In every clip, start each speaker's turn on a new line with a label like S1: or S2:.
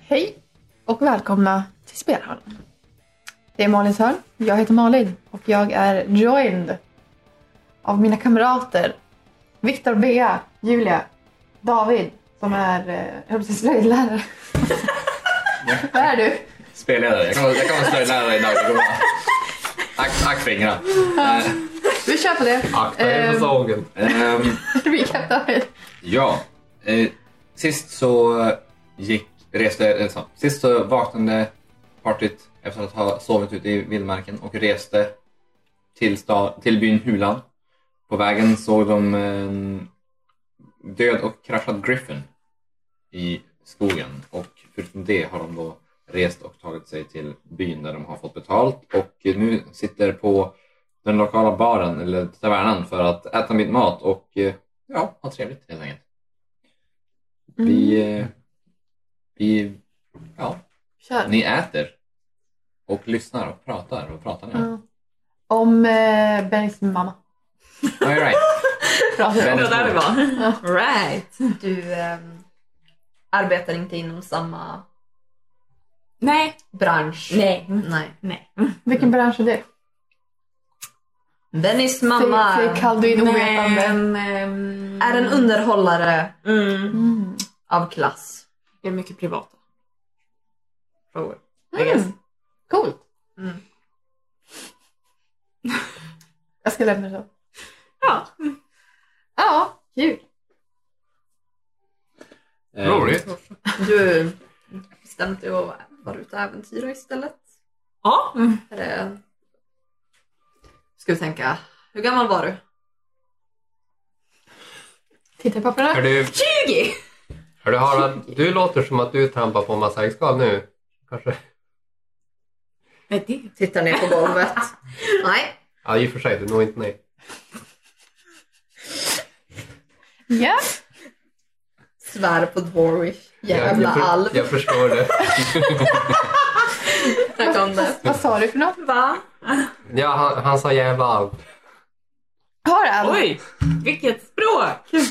S1: Hej och välkomna till Spelhörnan. Det är Malins hörn. Jag heter Malin och jag är joined av mina kamrater Viktor, Bea, Julia, David som är, eh, jag höll på att säga slöjdlärare. Vad är du?
S2: Spellärare. Jag kommer, jag kommer att spela lärare idag. Det går bra. Ack, ack fingrarna. Eh,
S1: Vi kör på det.
S3: Akta er för
S1: Ehm.
S3: sågen.
S2: ehm,
S1: Recap David.
S2: ja. Eh, sist så eh, gick, reste, eh, så, sist så vaknade partyt efter att ha sovit ute i vildmarken och reste till, sta, till byn Hulan. På vägen såg de en död och kraschad griffin i skogen och förutom det har de då rest och tagit sig till byn där de har fått betalt och nu sitter på den lokala baren eller tavernan för att äta mitt mat och eh, ja, ha trevligt helt enkelt.
S1: Mm,
S2: Vi,
S4: Mm.
S2: eh, vi, ja,
S1: Kör.
S2: ni äter och lyssnar och pratar. Vad pratar ni
S4: Mm.
S2: om?
S1: Ja. Om eh, Bennys mamma.
S2: All right.
S1: Pratar vi om.
S2: Men-
S4: Det var där vi var.
S1: Ja.
S4: Right.
S5: Du
S1: eh,
S5: ehm, arbetar inte inom samma
S4: Nej.
S5: bransch.
S4: Nej.
S5: Nej.
S4: Nej.
S1: Vilken bransch är det?
S5: Bennys mamma
S1: Säg, säg kall du in ovetande.
S4: Men, ehm,
S5: är en underhållare
S4: Mm.
S1: Mm.
S5: av klass.
S4: Det är mycket privata.
S5: Frågor. I guess.
S1: Mm. Coolt.
S5: Mm.
S1: Jag ska lämna det då.
S4: Ja.
S1: Ja, kul.
S2: Eh,
S3: Roligt.
S5: Du bestämde dig att vara ute och äventyra istället.
S4: Ja. Mm.
S5: Är det- Ska vi tänka, hur gammal var du?
S1: Titta i papperna.
S3: Hör du,
S5: 20!
S3: hör du Harald, du låter som att du trampar på en massa äggskal nu. Kanske.
S4: Nej, det.
S5: Tittar ner på golvet. Nej.
S3: Ja, i och för sig, du når inte ner.
S1: Ja.
S5: Svär på dwarvish.
S3: jag,
S5: Jävla
S3: jag, för-
S5: alv.
S3: jag förstår det.
S5: Där kom det.
S1: Vad sa du för något?
S5: Va?
S3: Ja, han, han sa jävla alv.
S1: Harald.
S4: Oj, vilket språk!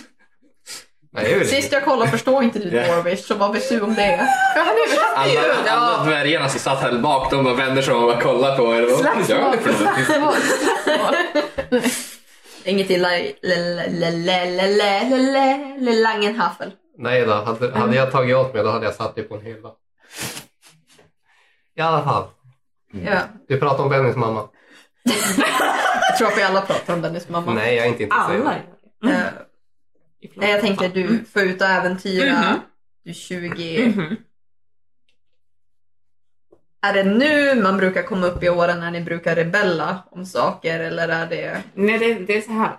S3: Nej, hur är
S5: Sist
S3: det?
S5: jag kollade förstår inte du
S2: Ja.
S5: dwarvish, så vad vet du om det?
S1: Ja, han är väl-
S2: Alla, alla dvärgarna som satt här bak, de bara vänder sig om och bara kollar på er. Och bara, "Vad gör ni för något?"
S1: Slagsmål.
S5: Inget illa i le- le- le- le- le- le- le- le- Langenhaffel.
S3: Nej då, hade, hade jag tagit åt mig då hade jag satt dig på en hylla. I alla fall,
S5: Ja,
S3: du pratar om Bennys mamma.
S5: jag tror att vi alla pratar om Dennis mamma.
S3: Nej, jag är inte intresserad.
S4: Alla
S5: Eh, nej, jag tänker du får ut och äventyra.
S4: Mhm.
S5: Du är 20.
S4: Mhm.
S5: Är det nu man brukar komma upp i åren när ni brukar rebella om saker eller är det...
S4: Nej, det, det är så här.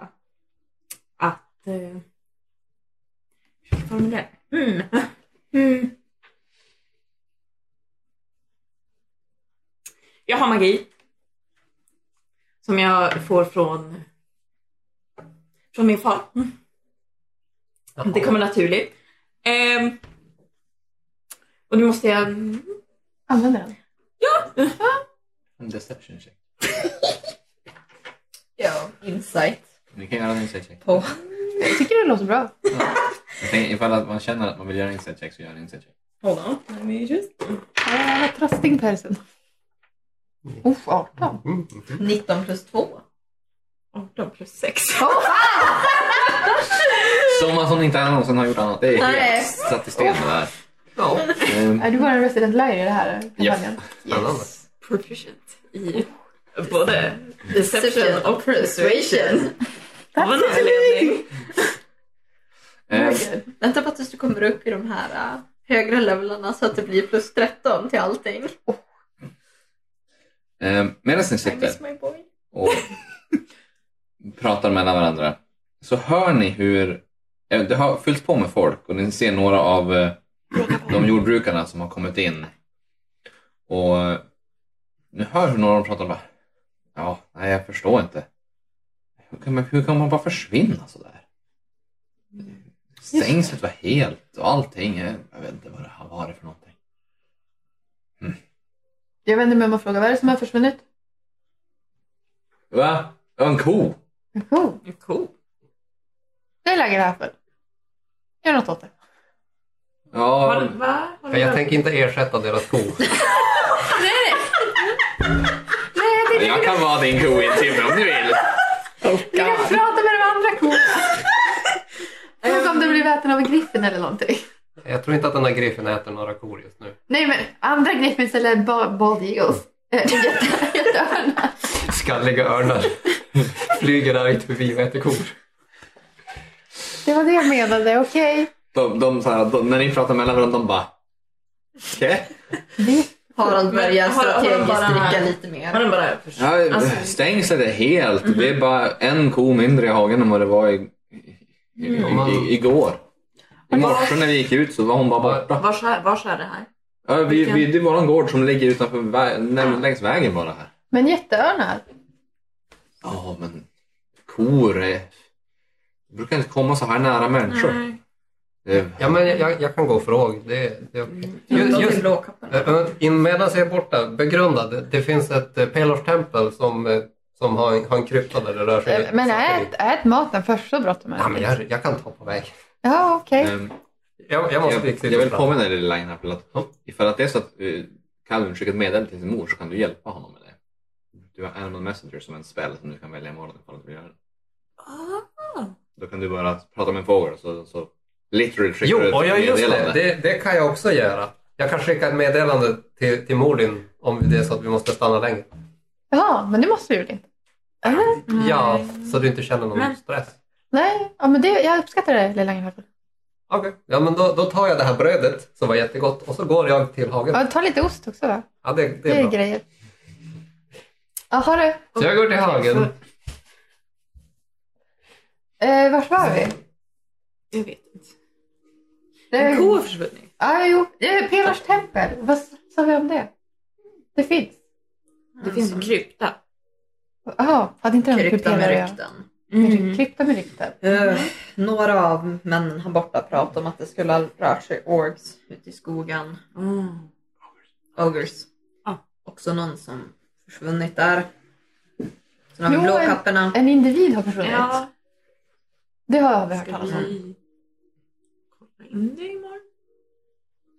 S4: Att... Eh, hur ska jag formulera det? Mm. Mm. Jag har magi. Som jag får från, från min far. Det kommer naturligt. Ehm, och nu måste jag...
S1: Använder den.
S2: En deception check.
S5: Ja, insight
S2: Ni kan göra en insight check.
S5: på...
S1: Jag tycker det låter bra.
S2: Jag tänker, ifall att man känner att man vill göra en insight check så gör en insight check.
S4: Hold on, let me just...
S1: Ja, Jag har trösting på hälsen. Uff, 18.
S3: Mm.
S5: 19 plus 2.
S4: 18 plus 6.
S2: Som att hon inte någonsin har gjort annat. Det är
S5: Nej.
S2: helt satt i sten det där.
S3: Ja,
S4: Oh.
S2: Ehm,
S1: Är du var en resident liar i det här kampanjen?
S3: spännande.
S4: proficient i både deception och
S5: persuasion.
S4: av en anledning.
S2: ehm,
S1: Very good.
S5: Vänta på tills du kommer upp i de här äh, högre levelarna så att det blir plus 13 till allting.
S2: ehm, Medan ni
S5: I
S2: sitter
S5: miss my boy.
S2: och pratar mellan varandra så hör ni hur eh, det har fyllts på med folk och ni ser några av eh, de jordbrukarna som har kommit in. Och eh, ni hör hur några av dem pratar och bara ja, nej jag förstår inte. Hur kan man, hur kan man bara försvinna sådär? Stängslet var helt och allting. Jag jag vet inte vad det här var det för någonting.
S1: Jag vänder mig om och frågar vad är det som har försvunnit?
S2: Va? Det var En ko?
S1: En ko.
S4: Cool.
S1: Det är lägerhäfel. Gör något åt det.
S2: Ja,
S4: Har, va? Har
S3: För
S4: du
S3: jag tänker inte ersätta deras ko.
S2: jag kan vara din ko i en timme om du vill.
S1: Du kan prata med de andra korna. Tänk om du blir äten av en griffin eller någonting.
S3: Jag tror inte att den här griffen äter några kor just nu.
S1: Nej men andra griffins eller ba- bald eagles. Eh, jätte- Jätteörnar.
S3: Skalliga örnar flyger typ argt förbi och äter kor.
S1: Det var det jag menade, okej.
S2: De, de, så här, de, när ni pratar mellan varandra, de bara... Okej?
S1: Vi-
S5: Harald
S4: Men
S5: börjar
S4: har- har de
S5: strategiskt
S4: bara-
S5: dricka lite
S4: Har
S5: mer.
S4: den bara
S2: Ja,
S4: Alltså- Mhm.
S2: stängslet är helt. Det är bara en ko mindre i hagen än vad det var i, i, i,
S4: Mm.
S2: i, igår. I morse när vi gick ut så var hon bara borta.
S4: Vars, är- vars är det här?
S2: Ja, vi,
S4: Vilken-
S2: vi, det är våran gård som ligger utanför vä- nä- längs vägen bara här.
S1: Men jätteörnar.
S2: Ja, men kor är... De brukar inte komma så här nära människor. Det-
S3: Ja, men jag- jag, jag kan gå och fråga. Det, det är okej. Just,
S5: Just,
S3: just,
S5: blåkappan.
S3: eh, in- medan jag är borta, begrunda. Det, det finns ett eh, pelorstempel som, eh, som har en, har en krypta där det rör sig.
S1: Eh, Men
S3: saker i.
S1: ät, ät maten först så bråttom är
S3: Ja, men
S1: det.
S3: jag, jag kan ta på väg.
S1: Ja, okej.
S2: Ehm,
S3: Jag, jag måste
S2: Jag,
S3: fixa
S2: jag vill
S3: det.
S2: påminna dig lilla Einarp
S3: Ja.
S2: att ifall att det är så att uh, Calvin skickar ett meddelande till sin mor så kan du hjälpa honom med det. Du har Animal Messenger som en spel som du kan välja imorgon ifall du vill göra det. Då kan du bara prata med en fågel och så, så literally skickar
S3: Jo,
S2: du
S3: och ja, just det.
S2: meddelande.
S3: det. Det kan jag också göra. Jag kan skicka ett meddelande till, till Mordin om det är så att vi måste stanna längre.
S1: Ja, men det måste du inte. Eller?
S3: Ja, så du inte känner någon
S4: Men-
S3: stress.
S1: Nej, ja, men det, jag uppskattar det lilla Engelhardt.
S3: Okej, ja men då, då tar jag det här brödet som var jättegott och så går jag till hagen.
S1: Ja, ta lite ost också va?
S3: Ja, det, det
S1: Det är,
S3: är bra.
S1: grejer. Jaha du.
S3: Så jag går till hagen.
S1: Eh, vart var vi?
S4: Jag vet inte.
S1: Det
S4: En ko har försvunnit.
S1: Ja, jo. Eh, Pelars tempel. Vad sa vi om det? Det finns.
S4: Det finns en krypta.
S1: Jaha, hade inte den med
S5: Krypta med
S1: Pelare att göra?
S5: rykten.
S4: Mm.
S1: Med Krypta med rykten.
S5: Eh, några av männen här borta pratade om att det skulle ha rört sig orgs ute i skogen.
S4: Mm.
S5: Ogers.
S4: Ja.
S5: Också någon som försvunnit där. Sen har
S1: Jo,
S5: vi
S1: en-
S5: blåkapporna.
S1: En individ har försvunnit.
S4: Ja,
S1: Det har vi hört
S4: ska
S1: talas om.
S4: vi kolla in det imorgon?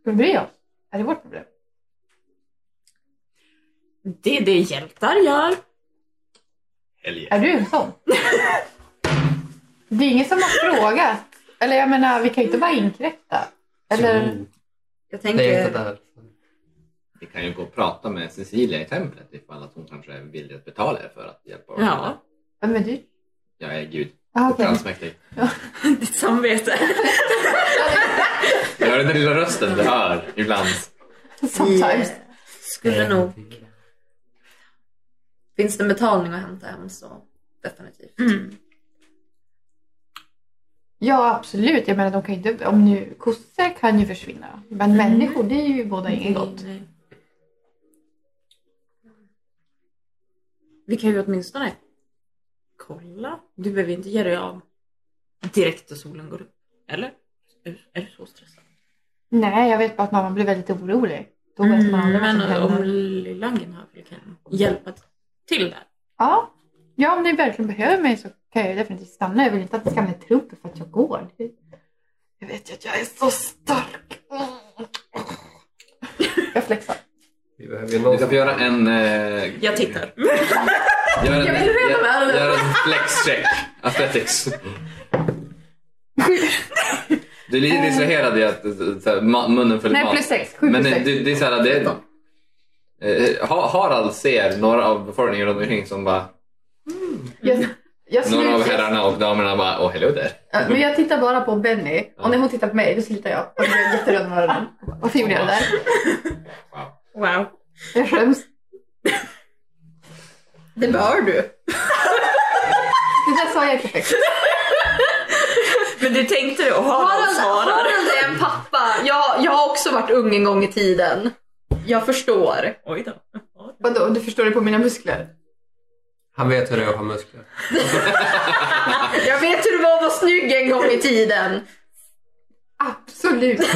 S1: Ska vi bry oss? Är det vårt problem?
S4: Det är det hjältar gör.
S2: Helge.
S1: Är du en sån? det är ingen som har frågat. Eller jag menar, vi kan ju inte bara inkräkta. Eller?
S3: Jo,
S5: Jag
S3: Det är inte
S5: tänker,
S3: där.
S2: Vi kan ju gå och prata med Cecilia i templet ifall att hon kanske är villig att betala er för att hjälpa oss.
S4: Ja.
S1: Ja, men du?
S2: Jag är gud.
S1: Ah,
S2: Okay.
S1: okej.
S2: Allsmäktig.
S4: Ditt samvete.
S2: Jag hör den där lilla rösten du hör ibland.
S1: Sometimes.
S3: Mm.
S5: Vi, eh, skulle nog... Finns det betalning att hämta hem så definitivt.
S4: Mm.
S1: Ja, absolut. Jag menar, de kan ju inte... Om nu, kossor kan ju försvinna. Men
S5: Mm.
S1: människor, det är ju båda inget gott.
S4: Vi kan ju åtminstone kolla. Du behöver inte ge dig av direkt när solen går upp. Eller? Är, är du så stressad?
S1: Nej, jag vet bara att mamma blir väldigt orolig. Då vet man aldrig vad som
S4: Mm, men om
S1: händer.
S4: Lillangen här kan hjälpa till där.
S1: Ja. ja, om ni verkligen behöver mig så kan jag ju definitivt stanna. Jag vill inte att det ska bli trupper för att jag går. Jag vet ju att jag är så stark. Mm. Jag flexar.
S3: Vi behöver ju
S2: Vi
S3: någon
S2: ska få göra en... eh,
S4: Jag tittar.
S2: Gör en,
S5: Jag vill reda mig
S2: gör,
S5: här.
S2: gör en flex-check. Athletics. Du är lite distraherad i att så här, ma- munnen följer
S1: Nej,
S2: mat.
S1: plus sex. Sju
S2: Men eh,
S1: plus
S2: det,
S1: sex.
S2: det, det är så här, det, eh, Ha- Harald ser några av befolkningen runt omkring som bara...
S1: Jag, jag
S2: Några av
S1: sluter-
S2: herrarna och damerna bara åh hello där.
S1: Ja, Men jag tittar bara på Benny. Och när hon tittar på mig, då slutar jag. Och då blir jag jätteröd om öronen. Varför gjorde jag det där?
S4: Wow.
S1: Jag skäms.
S5: Det bör du.
S1: Det där sa jag inte högt.
S4: Men du tänkte det och Harald
S5: Harald,
S4: svarar.
S5: Harald är en pappa. Jag, jag har också varit ung en gång i tiden. Jag förstår.
S4: Oj då.
S1: Vadå, du förstår det på mina muskler?
S3: Han vet hur det är att ha muskler.
S5: Jag vet hur det var att vara snygg en gång i tiden.
S1: Absolut.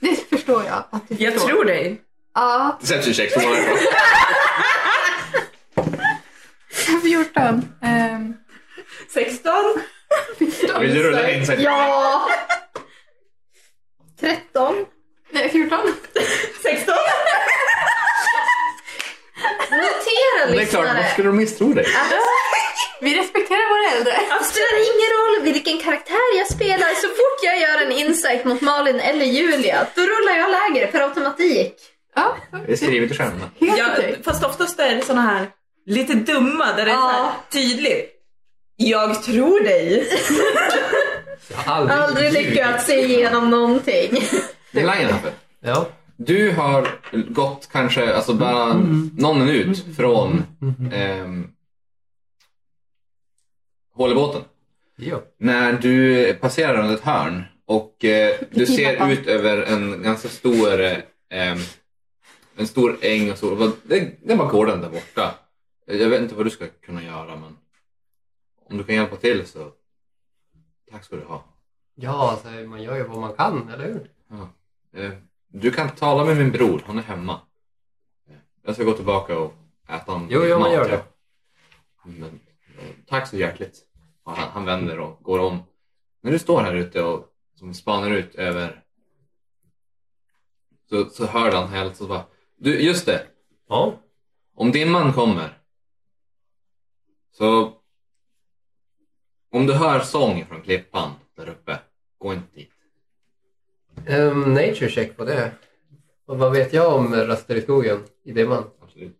S1: Det förstår jag att du
S4: Jag
S1: förstår.
S4: tror dig.
S1: Ja,
S2: Deception check från våra håll.
S1: 14. Um,
S4: 16.
S2: Vill du rulla in sen?
S5: Ja! 13.
S1: Nej, 14.
S5: 16. Notera
S2: Det är klart,
S5: lyssnare
S2: varför skulle de misstro dig?
S1: Vi respekterar våra äldre.
S5: att det spelar ingen roll vilken karaktär jag spelar. Så fort jag gör en insight mot Malin eller Julia, då rullar jag lägre per automatik.
S1: Ja,
S2: Det är skrivet i stjärnorna.
S1: helt
S4: Ja,
S1: okej.
S4: fast oftast är det såna här lite dumma där det är så här
S5: Ja.
S4: tydligt. Jag tror dig.
S3: Jag har aldrig,
S5: Aldrig
S3: ljugit.
S5: lyckats se igenom någonting.
S2: Lionhaffe,
S3: Ja.
S2: du har gått kanske alltså bara någon minut från ehm, hålebåten.
S3: ja.
S2: När du passerar runt ett hörn och eh, du ser
S1: Pippipappa.
S2: ut över en ganska stor eh, ehm, en stor äng och så. Det, det var gården där borta. Jag vet inte vad du ska kunna göra men om du kan hjälpa till så tack ska du ha.
S3: Ja, alltså, man gör ju vad man kan, eller hur?
S2: Eh, Du kan tala med min bror, han är hemma. Jag ska gå tillbaka och äta en
S3: Jo, jo, man gör
S2: ja.
S3: det.
S2: Men, eh, tack så hjärtligt. Och han, han vänder och går om. När du står här ute och som spanar ut över så, så hör han helt så bara, du just det,
S3: Ja.
S2: om dimman kommer så om du hör sång från klippan där uppe, gå inte dit.
S3: Ehm, nature check på det. Och vad vet jag om raster i skogen i dimman?
S2: Absolut.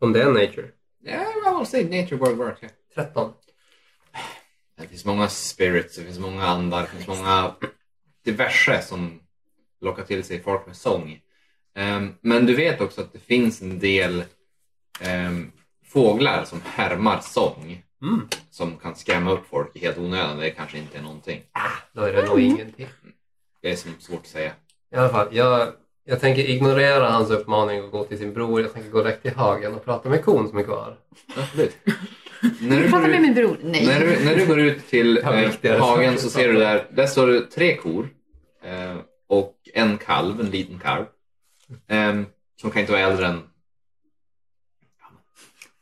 S3: Om det är nature?
S2: Ja, I will say nature world work. ja.
S3: 13.
S2: Det finns många spirits, det finns många andar, det finns många diverse som lockar till sig folk med sång. Ehm, men du vet också att det finns en del ehm, fåglar som härmar sång
S3: Mm.
S2: som kan skrämma upp folk i helt onödan. Det kanske inte är någonting.
S3: Då är det nog ingenting.
S2: Det är som svårt att säga.
S3: I alla fall, jag, jag tänker ignorera hans uppmaning och gå till sin bror. Jag tänker gå direkt till hagen och prata med kon som är kvar.
S2: Absolut. När du,
S1: Prata
S2: går
S1: med
S2: ut,
S1: min bror. Nej.
S2: när, du, när du går ut till
S3: Det var
S2: eh,
S3: viktigare
S2: hagen
S3: saker.
S2: så ser du där, där står det tre kor eh, och en kalv, en liten kalv. ehm, som kan inte vara äldre än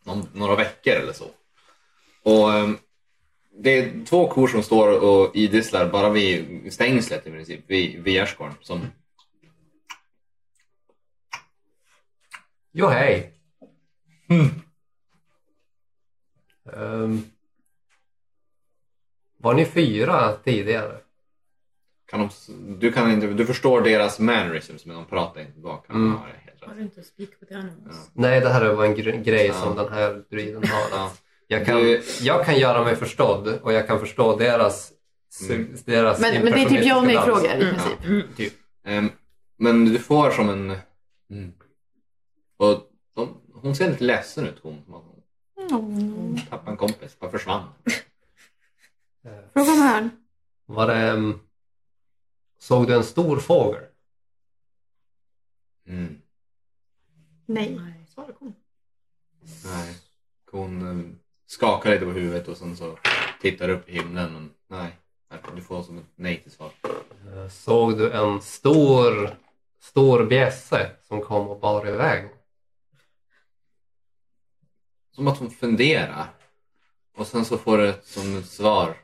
S2: någon, några veckor eller så. Och ehm, Det är två kor som står och idisslar bara vid stängslet i princip, vid, vid gärdsgården. Som,
S3: Jo, hej! Ehm, var ni fyra tidigare?
S2: kan de, s- du, kan inte, du förstår deras mannerisms men de pratar inte tillbaka.
S3: Mm.
S2: Ja, det är helt
S4: Har
S2: rätt.
S4: du inte speak with animals?
S3: Nej, det här var en gre- grej
S2: Ja.
S3: som den här druiden har.
S2: Ja.
S3: Jag kan,
S2: Du-
S3: jag kan göra mig förstådd och jag kan förstå deras,
S2: Mm.
S3: deras
S1: Men, men det är typ
S3: impersonistiska
S1: jag och
S3: dans.
S1: nej-frågor i
S4: Mm.
S1: princip.
S2: Ehm, men du får som en... Mm. Och de, hon ser lite ledsen ut. Hon, hon
S1: Mm.
S2: tappade en kompis, bara försvann.
S3: Eh,
S1: Fråga om hörn.
S3: Var det, ehm, såg du en stor fågel?
S2: Mm.
S1: Nej.
S4: Svara kom.
S2: Nej. Hon eh, skakar lite på huvudet och sen så tittar upp i himlen. Men nej, du får som ett nej till svar.
S3: Eh, Såg du en stor, stor bjässe som kom och bar iväg?
S2: Som att hon funderar. Och sen så får du ett, som ett svar.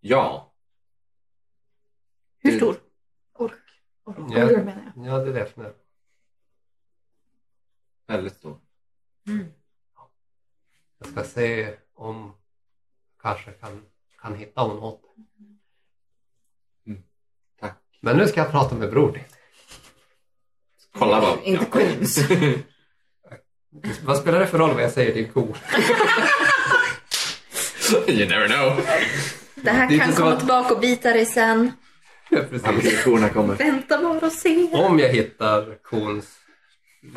S2: Ja.
S1: Hur
S2: Det-
S1: stor? Ork. Ork.
S3: Ja.
S1: Ork menar jag.
S3: Ja, det är det. för det.
S2: Väldigt stor.
S3: Jag ska se om jag kanske kan, kan hitta hon åt det.
S2: Mm. Tack.
S3: Men nu ska jag prata med bror din.
S2: Kolla bara.
S4: Inte Queens.
S3: Vad spelar det för roll vad jag säger din ko?
S2: you never know.
S5: Det här
S2: Det är
S5: kan
S2: inte så
S5: komma
S2: att-
S5: tillbaka och bita dig sen.
S3: Precis.
S2: Korna kommer.
S5: Vänta bara och se.
S3: Om jag hittar kons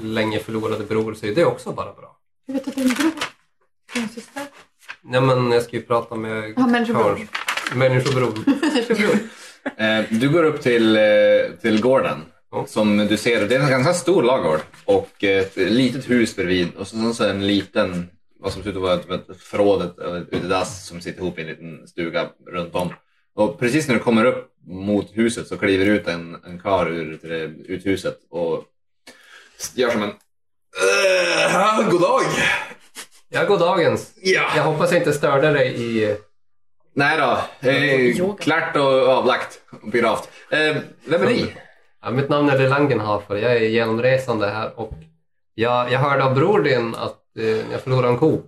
S3: länge förlorade bror så är det också bara bra.
S1: Jag vet att din bror din syster.
S3: Nej men jag ska ju prata med
S1: Ja, människobror.
S3: Karl. Människobror.
S2: Eh, du går upp till, eh, till gården.
S3: Ja.
S2: Som du ser, det är en ganska stor lagård och eh, ett litet hus bredvid och sen så en liten, vad som ser ut att vara ett, ett förråd, ett, ett utedass som sitter ihop i en liten stuga runt om. Och precis när du kommer upp mot huset så kliver ut en, en karl ur ur uthuset "Äh, och gör som en "Eh, God dag!
S3: Jag går dagens.
S2: Ja.
S3: Jag hoppas jag inte störde dig i...
S2: Nej då. Eh,
S4: Yoga.
S2: klart och avlagt. och Pirat. Eh, vem är ni?
S3: Ja, mitt namn är Langenhafer. Jag är genomresande här och jag, jag hörde av bror din att eh, jag förlorade en ko.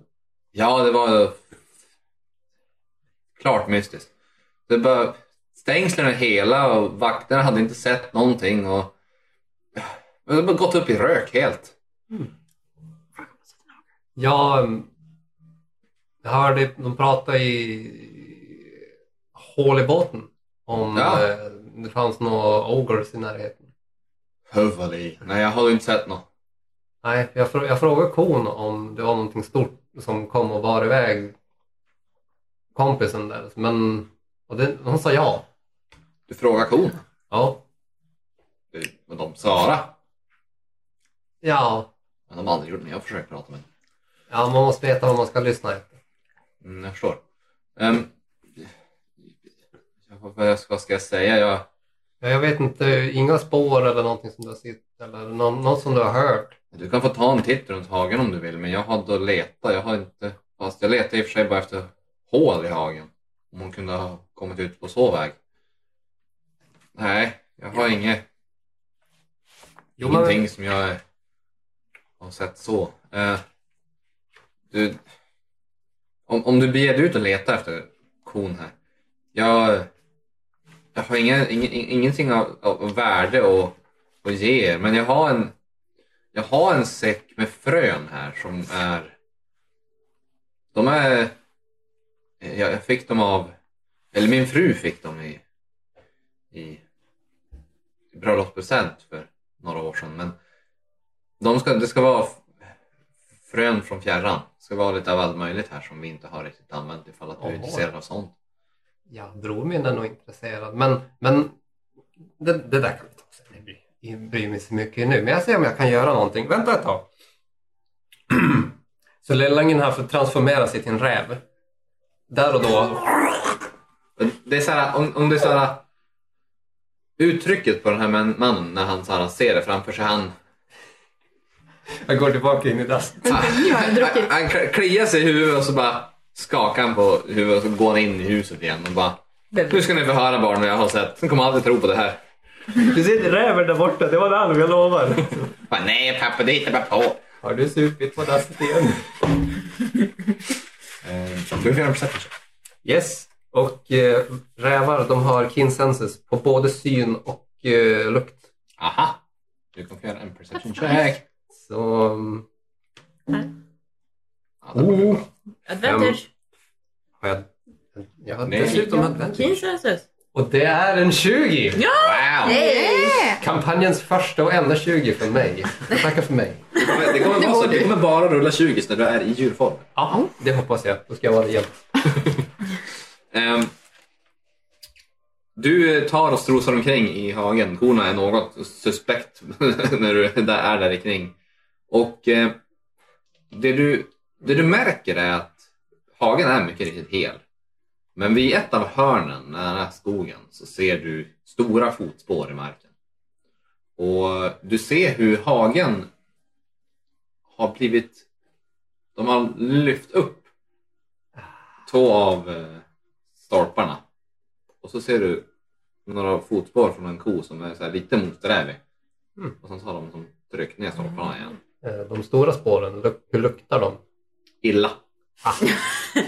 S2: Ja, det var eh, klart mystiskt. Det bara, stängslen är hela och vakterna hade inte sett någonting. Och, det har bara gått upp i rök helt.
S3: Jag, mm, jag hörde de prata i hål i båten om
S2: Ja.
S3: eh, det fanns några ogres i närheten.
S2: Huvudli. Nej, jag har inte sett något.
S3: Nej, jag, frå- jag frågade kon om det var någonting stort som kom och bar iväg kompisen där. Men och det, hon sa ja.
S2: Du frågar kon.
S3: Ja.
S2: Du, Men de Sara.
S3: Ja,
S2: Men de har aldrig gjort det när jag försökt prata med dem.
S3: ja man måste veta vad man ska lyssna efter.
S2: Mm, jag förstår. Ehm, jag- vad ska, vad ska jag säga? Jag,
S3: Ja, jag vet inte, inga spår eller någonting som du har sett eller någon, något som du har hört.
S2: Du kan få ta en titt runt hagen om du vill, men jag hade att leta. Jag har inte... Fast jag letade i och för sig bara efter hål i hagen. Om hon kunde ha kommit ut på så väg. Nej, jag har inget,
S3: Jo, men-
S2: ingenting som jag har sett så. Eh, du, om, om du beger dig ut och letar efter kon här. Jag, jag har inga, ing, ingenting av, av värde att, att ge er, men jag har en jag har en säck med frön här som är... De är... Jag jag fick dem av... Eller min fru fick dem i... I, i bröllopspresent för några år sedan. Men de ska, det ska vara f- frön från fjärran. Det ska vara lite av allt möjligt här som vi inte har riktigt använt ifall att du är
S3: Oho.
S2: intresserad av sånt.
S3: Ja, bror min är nog intresserad. Men, men det, det där kan vi ta sen. Jag bryr- Jag bryr mig så mycket nu. Men jag ser om jag kan göra någonting. Vänta ett tag. så Lillangen här får transformera sig till en räv. Där och då.
S2: Men Det är så här, om, om det är så här, uttrycket på den här man- mannen när han, så här, ser det framför sig. Han,
S3: Jag går tillbaka in i dasset.
S4: Nu har jag druckit.
S2: Han kl- kliar sig i huvudet och så bara skakar han på huvudet och så går han in i huset igen och bara Nu ska ni få höra barn vad jag har sett. Ni kommer aldrig tro på det här.
S3: Du ser räven där borta. Det var det han, jag lovar.
S2: Bara, Nej pappa, det hittar bara på.
S3: Har du supit på dasset igen?
S2: Eh, Du kan göra en perception.
S3: Yes. Och eh, rävar de har keen senses på både syn och eh, lukt.
S2: Aha. Du kan få göra en perception check.
S3: Så... mm,
S2: Ja, det var ju bra.
S4: Advantage.
S3: Har jag... Jag har
S2: Nej.
S3: dessutom advantage.
S4: Kinsensus.
S3: Och det är en 20!
S2: Wow.
S3: Kampanjens första och enda 20 från mig. Jag tackar för mig.
S2: Det kommer, det kommer, vara så, det kommer bara rulla 20 när du är i djurform.
S3: Ja, det hoppas jag. Då ska jag vara det jämt.
S2: Ehm, du tar och strosar omkring i hagen. Korna är något suspekt när du där är där kring. Och eh, det, du, det du märker är att hagen är mycket riktigt hel. Men vid ett av hörnen nära skogen så ser du stora fotspår i marken. Och du ser hur hagen har blivit... De har lyft upp två av eh, stolparna. Och så ser du några fotspår från en ko som är så här lite motsträvig.
S3: Mm.
S2: Och sen så har de som tryckt ner
S4: Mm.
S2: stolparna igen.
S3: Eh, De stora spåren, luk- hur luktar de? Ah.
S2: Illa.
S3: Eh,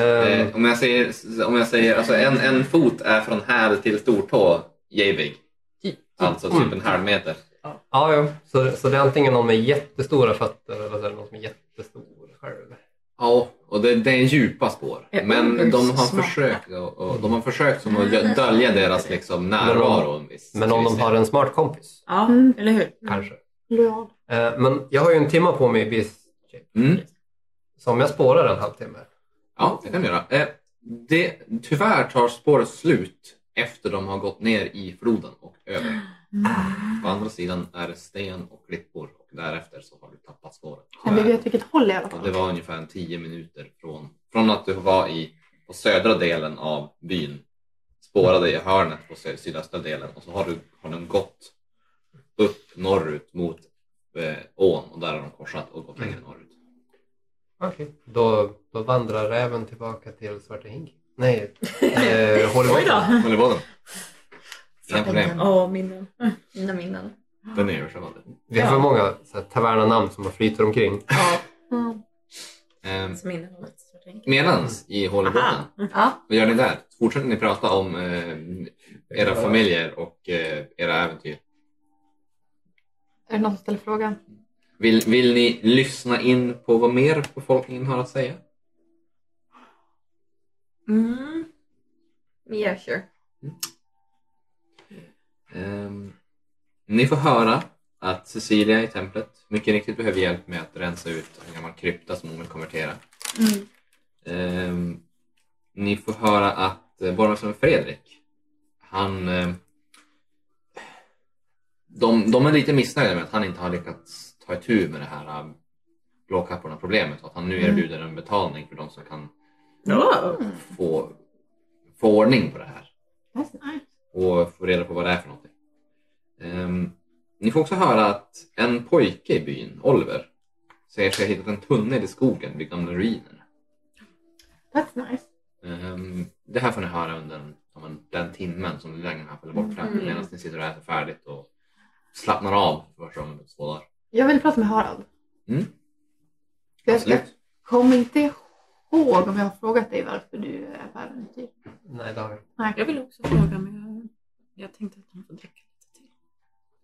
S2: Eh, om jag säger, om jag säger alltså en, en fot är från häl till stortå jävig.
S4: Typ.
S2: Alltså typ en halv meter.
S3: mm. Ja, ja. Så, så det är antingen någon med jättestora fötter eller så är det någon som är jättestor själv.
S2: Ja, och det, det är djupa spår.
S4: Ja, det
S2: Men
S4: är
S2: de har
S4: smarta.
S2: försökt, och, och, de har försökt som att dö- dölja deras liksom, närvaro. en viss-
S3: Men om de har en smart kompis,
S4: Ja,
S1: Mm.
S4: eller hur?
S3: kanske.
S1: Lojal.
S3: Eh, Men jag har ju en timme på mig i bis-
S2: Mm.
S3: så om jag spårar en halvtimme.
S2: Ja, det kan du göra. Eh, det, tyvärr tar spåret slut efter de har gått ner i floden och över.
S1: Mm.
S2: På andra sidan är det sten och klippor och därefter så har du tappat spåret.
S1: Men vi vet vilket håll i alla
S2: Och det
S1: fall.
S2: var ungefär en 10 minuter från, från att du var i, på södra delen av byn, spårade i hörnet på sö- sydöstra delen och så har, du, har de gått upp norrut mot eh, ån och där har de korsat och gått längre norrut.
S3: Okej. Då, då vandrar räven tillbaka till Svarta Hink. Nej, eh,
S4: Oj
S3: Hålibåten.
S4: då.
S2: Hållboden. Inga problem.
S4: Ja, minnen.
S5: Mina minnen.
S2: Den är översvämmande.
S3: Vi har för många så här, tavernanamn som flyter omkring.
S4: Ja,
S2: Ehm,
S4: som innehållet. så jag tänker.
S2: Medans i Hållboden,
S4: Aha.
S5: Ja.
S2: vad gör ni där? Fortsätter ni prata om ehm, era familjer och eh, era äventyr?
S1: Är det någon som ställer frågan?
S2: Vill, vill ni lyssna in på vad mer befolkningen har att säga?
S4: Mm.
S5: Yeah, sure.
S2: Ehm, ni får höra att Cecilia i templet mycket riktigt behöver hjälp med att rensa ut en gammal krypta som hon vill konvertera.
S5: Mm.
S2: Ehm, ni får höra att eh, borgmästaren Fredrik, han... Eh, de, de är lite missnöjda med att han inte har lyckats ta itu med det här eh, blåkapporna-problemet och att han nu
S1: Mm.
S2: erbjuder en betalning för de som kan
S4: Ja.
S2: få, få ordning på det här
S1: Nice, nice.
S2: och få reda på vad det är för någonting. Ehm, ni får också höra att en pojke i byn, Oliver, säger sig ha hittat en tunnel i skogen vid gamla ruiner.
S1: That's nice.
S2: Ehm, det här får ni höra under den, om en- den timmen som lögnen här faller bort fram
S4: Mm.
S2: medan ni sitter och äter färdigt och slappnar av för första gången på två dagar.
S1: Jag vill prata med Harald.
S2: Mm.
S1: Jag, jag
S2: Absolut.
S1: kommer inte ihåg om jag har frågat dig varför du är typ. på äventyr.
S3: Nej, det har vi inte.
S4: Jag vill också fråga, men jag, jag tänkte att hon får dricka lite till.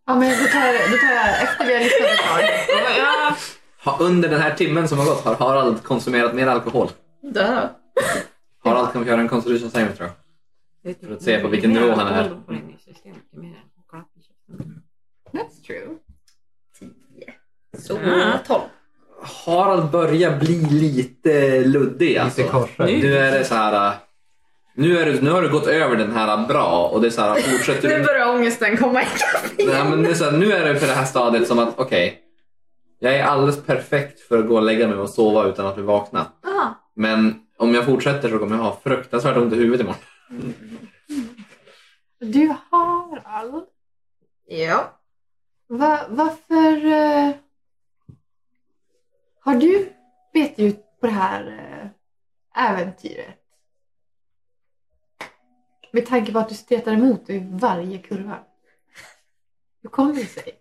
S1: Ja, men då tar jag det då tar jag efter vi har lyssnat ett tag.
S4: Ja,
S2: Ha, under den här timmen som har gått har Harald konsumerat mer alkohol.
S5: Dö.
S2: Harald kan få göra en constitution saving throw. För att se på vilken nivå han är. Mm.
S1: That's true.
S5: Så,
S4: Ah.
S5: tolv.
S2: Harald börjar bli lite luddig. Alltså.
S3: Lite korsad.
S2: Nu är det så här... äh, Nu, är du, nu har du gått över den här äh, bra och det är så här, fortsätter
S5: Nu
S2: du...
S5: börjar ångesten komma ikapp
S2: Nej, men det är så här, nu är det på det här stadiet som att okej, jag är alldeles perfekt för att gå och lägga mig och sova utan att bli vakna.
S5: Aha.
S2: Men om jag fortsätter så kommer jag ha fruktansvärt ont i huvudet imorgon.
S1: Du Harald,
S5: Ja.
S1: va, varför eh, har du bett ut på det här eh, äventyret? Med tanke på att du stretar emot i varje kurva. Hur kommer det sig?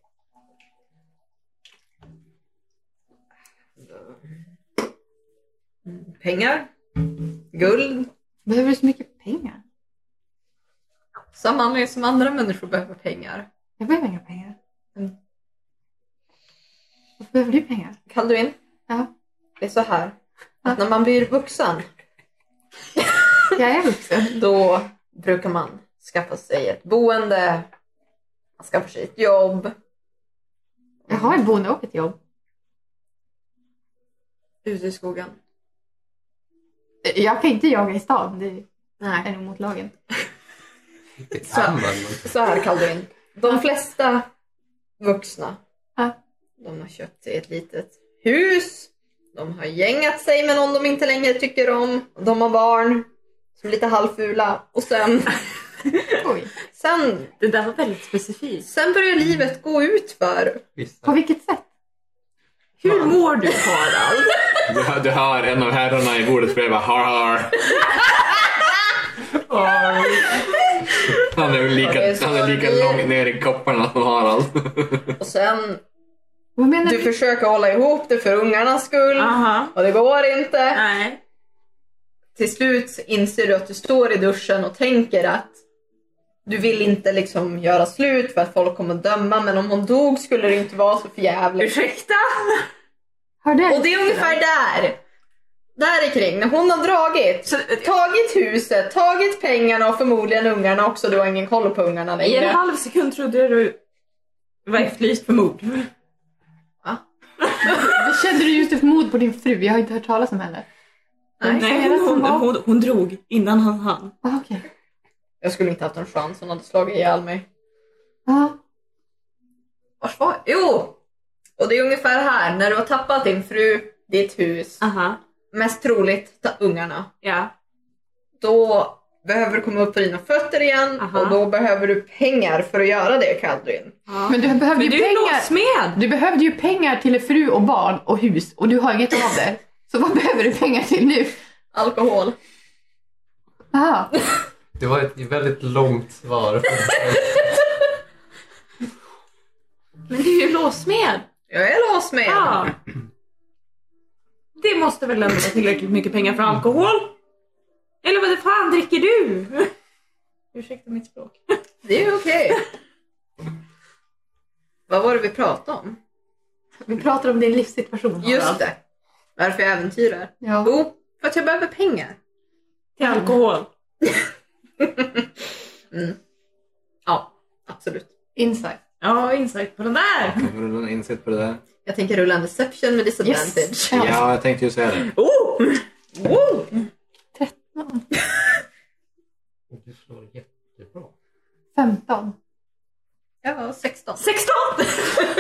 S5: Pengar. Guld.
S1: Behöver du så mycket pengar?
S5: Samma anledning som andra människor behöver pengar.
S1: Jag behöver inga pengar.
S5: Mm.
S1: Varför behöver du pengar?
S5: Kan du in?
S1: Ja.
S5: Det är så här.
S1: Ja.
S5: Att när man blir vuxen
S1: Jag är vuxen.
S5: då brukar man skaffa sig ett boende. Man skaffar sig ett jobb.
S1: Jag har ett boende och ett jobb.
S5: Ute i skogen.
S1: Jag kan inte jaga i stan. Det
S5: Nej.
S1: är nog mot lagen.
S3: Det kan man. men-
S5: Så här Kalduin. De flesta vuxna.
S1: Ja.
S5: De har köpt sig ett litet hus. De har gängat sig med någon de inte längre tycker om. De har barn som är lite halvfula. Och sen,
S1: Oj.
S5: sen,
S4: det där var väldigt specifikt.
S5: sen börjar livet gå ut för.
S1: På
S3: Vissa.
S1: vilket sätt?
S4: Hur mår du Harald?
S2: Du hör, du hör en av herrarna i bordet bredvid har har. Han är lika, han är lika långt ner i kopparna som Harald.
S5: Och sen,
S1: Vad menar
S5: du försöker hålla ihop det för ungarnas skull.
S4: Aha.
S5: Och det går inte.
S4: Nej.
S5: till slut inser du att du står i duschen och tänker att du vill inte liksom göra slut för att folk kommer döma men om hon dog skulle det inte vara så förjävligt.
S4: Ursäkta?
S1: Har du
S5: Och det är ungefär där. Där är kring. När hon har dragit.
S4: Så,
S5: Tagit huset, tagit pengarna och förmodligen ungarna också. Du har ingen koll på ungarna
S4: I en
S5: längre.
S4: halv sekund trodde jag du var efterlyst för mord.
S1: Kände du just ett mod på din fru? Jag har inte hört talas om henne.
S4: Nej, hon, hon, hon, hon drog innan han hann.
S1: Ah, Okej.
S5: Jag skulle inte haft en chans. Hon hade slagit ihjäl mig.
S1: Ja.
S5: Vars var jag? Jo! Och det är ungefär här. När du har tappat din fru, ditt hus.
S4: Aha.
S5: Mest troligt ta ungarna.
S4: Ja.
S5: då behöver du komma upp på dina fötter igen
S4: Aha.
S5: och då behöver du pengar för att göra det Kadrin.
S4: ja.
S1: Men du behövde
S4: Men
S1: ju
S4: du är
S1: pengar.
S4: låtsmed!
S1: Du behövde ju pengar till fru och barn och hus och du har inget av det. Så vad behöver du pengar till nu? Ah.
S5: Alkohol.
S1: Aha.
S3: Det var ett väldigt långt svar.
S4: Men du är ju låssmed.
S5: Jag är låsmed.
S4: Ja. Det måste väl ändå vara tillräckligt mycket pengar för alkohol? Eller vad fan dricker du? Ursäkta mitt språk.
S5: Det är okej. Vad var det vi pratade om?
S1: Vi pratar om din livssituation.
S5: Just det. Varför jag äventyrar.
S1: Ja.
S5: Jo, för att jag behöver pengar.
S4: Till alkohol.
S5: Ja, absolut.
S1: Insight.
S4: Ja, insikt på den där.
S2: Har du någon insikt på det där?
S5: Jag tänker rulla en deception med disadvantage.
S1: Yes. Ja.
S2: Ja, jag tänkte ju säga det.
S4: Oh!
S5: Wow.
S3: Du slår jättebra.
S1: 15.
S5: Ja, 16.
S4: 16!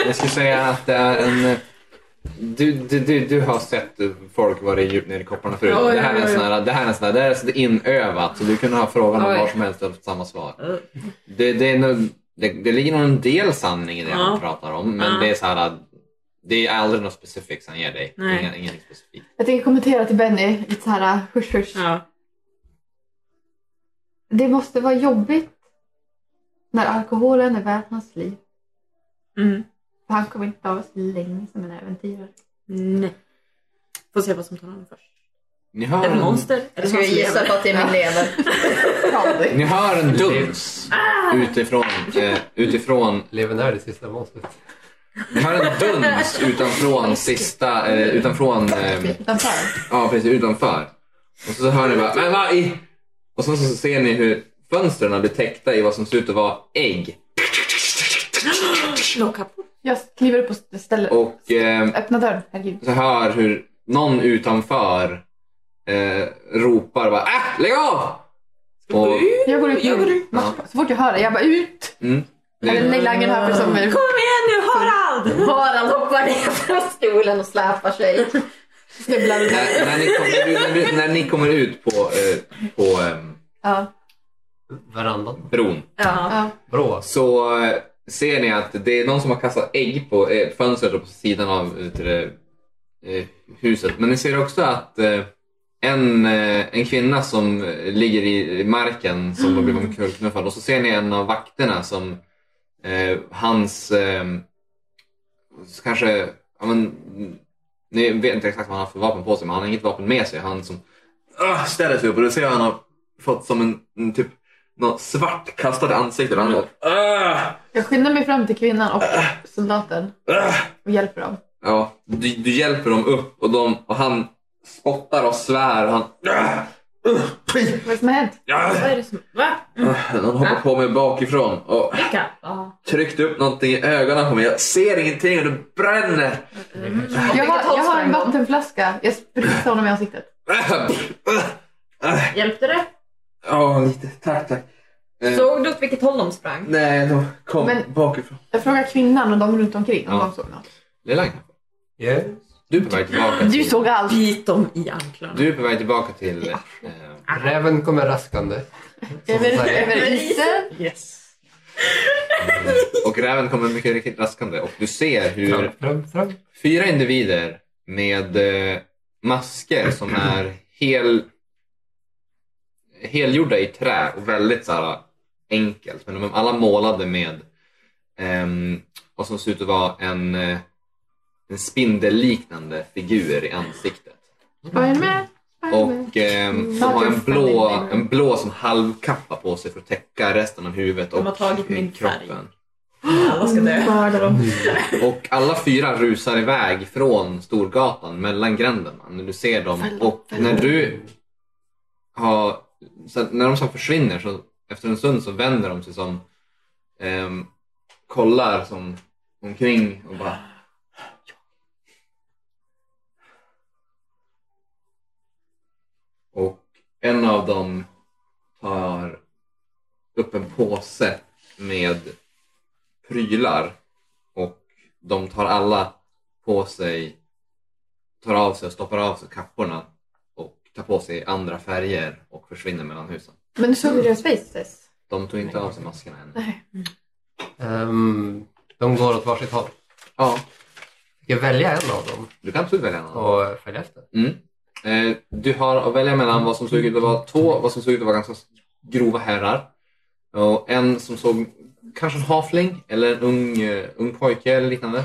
S2: Jag skulle säga att det är en... eh, Du, du, du, du har sett eh, folk vara djupt nere i kopparna förut.
S4: Ja, ja,
S2: det här är en
S4: ja,
S2: sån här, det här är en sån här, det här är så inövat. Så du kunde ha frågan om
S4: Oj.
S2: var som helst och fått samma svar. Det, det, är nog, det, det ligger nog en del sanning i det
S4: Ja.
S2: han pratar om. Men
S4: Ja.
S2: det är så här, att det är aldrig något specifikt han ger dig.
S4: Nej.
S2: Ingen, ingen specifik.
S1: Jag tänker kommentera till Benny lite så här husch husch.
S4: Ja.
S1: Det måste vara jobbigt när alkoholen är värt hans liv.
S4: Mm.
S1: För han kommer inte av sig länge som en äventyrare.
S4: Nej. Får se vad som tar honom först.
S2: Ni hör,
S4: Är det
S2: en,
S4: monster? Är det
S5: Jag ska
S4: hans
S5: gissa
S4: lever?
S5: på att det är min lever.
S2: ni hör en duns
S4: Ah!
S2: utifrån, eh, utifrån
S3: Leven är det sista monstret.
S2: Vi har en duns utanfrån sista, eh, utanfrån, eh,
S1: Utanför.
S2: ja precis utanför. Och så hör ni bara, men vad i... Och sen så ser ni hur fönstren blir täckta i vad som ser ut att vara ägg.
S4: Locka på.
S1: Jag kliver upp på stället.
S2: Och eh,
S1: Öppna dörren. Herregud.
S2: så hör hur någon utanför eh, ropar bara, äh, lägg av! Och,
S1: Jag går ut
S4: Jag går
S1: nu.
S4: ut.
S1: Mars- Så fort jag hör det, jag bara ut!
S2: mm,
S1: Eller
S2: det,
S1: Leila Angelhöfer som är...
S4: Kom igen nu Harald!
S5: Harald hoppar ner från stolen och släpar sig.
S1: snubblar.
S2: när, när, ni kommer, när, ni- när ni kommer ut på, eh, på eh,
S1: Ja.
S3: Verandan.
S2: bron
S4: Ja.
S1: ja.
S3: Bra.
S2: så eh, ser ni att det är någon som har kastat ägg på eh, fönstret och på sidan av vet du det, eh, huset. Men ni ser också att eh, en, eh, en kvinna som eh, ligger i i marken som har blivit omkullknuffad och så ser ni en av vakterna som eh, hans eh, kanske, ja men ni vet inte exakt vad han har för vapen på sig men han har inget vapen med sig. Han som ah, ställer sig upp och då ser jag han har fått som en, en typ något svart kastat i ansiktet. Han bara, "Ah!"
S1: Jag skyndar mig fram till kvinnan och soldaten och hjälper dem.
S2: Ja, du, du hjälper dem upp och, de, och han spottar och svär. Och han, "Ah! Uh, fy!
S1: Vad är det som har hänt?
S2: Ah!"
S4: Vad är det som... Va?
S2: Ah, Någon hoppar på mig bakifrån och
S4: Vilka? Ja.
S2: tryckte upp någonting i ögonen på mig. Jag ser ingenting och det bränner.
S1: Jag har,
S5: Vilket håll
S1: jag har en
S5: sprang de?
S1: vattenflaska. Jag sprutar honom i ansiktet.
S2: Ah, ah, ah.
S4: Hjälpte det?
S2: Ja, lite. Tack, tack. Eh,
S5: Såg du åt vilket håll de sprang?
S2: Nej, de kom
S1: Men-
S2: bakifrån.
S1: Jag frågar kvinnan och de runt omkring om
S2: Ja.
S1: de såg något.
S2: Lilla,
S3: Yes.
S2: du är på väg tillbaka.
S1: Du
S2: Till,
S1: såg allt.
S4: Bit dem i anklarna.
S2: du är på väg tillbaka till... Eh,
S3: Räven kommer raskande.
S1: Över,
S3: säger.
S1: över isen.
S4: Yes.
S2: Mm. och räven kommer mycket riktigt raskande och du ser hur
S3: Tramp, tramp, tramp.
S2: fyra individer med eh, masker som är hel, helgjorda i trä och väldigt så här, eh, enkelt. Men de är alla målade med ehm, vad som ser ut att vara en, eh, en spindelliknande figur i ansiktet.
S1: Spiderman. Spiderman.
S2: Och ehm,
S4: Mm.
S2: de har en blå, en blå som halvkappa på sig för att täcka resten av huvudet
S4: De har
S2: och eh,
S4: tagit min
S2: kroppen.
S4: färg. Alla ska dö.
S1: Mördar dem.
S2: Mm. Och alla fyra rusar iväg från Storgatan mellan gränderna. När du ser dem.
S1: Fälla,
S2: Och
S1: fälla.
S2: när du har... Så att när de så försvinner så efter en stund så vänder de sig som... ehm, kollar som omkring och bara... Och en av dem tar upp en påse med prylar och de tar alla på sig, tar av sig och stoppar av sig kapporna och tar på sig andra färger och försvinner mellan husen.
S1: Men du såg ju deras faces.
S2: De tog inte av sig maskerna än.
S1: Nej.
S3: Ehm, de går åt varsitt håll.
S2: Ja,
S3: Ska jag välja en av dem
S2: Du kan absolut välja en annan.
S3: och eh, följa efter?
S2: Eh, du har att välja mellan vad som såg ut att vara två, vad som såg ut att vara ganska grova herrar. Och en som såg kanske en halfling eller en ung, eh, ung pojke eller liknande.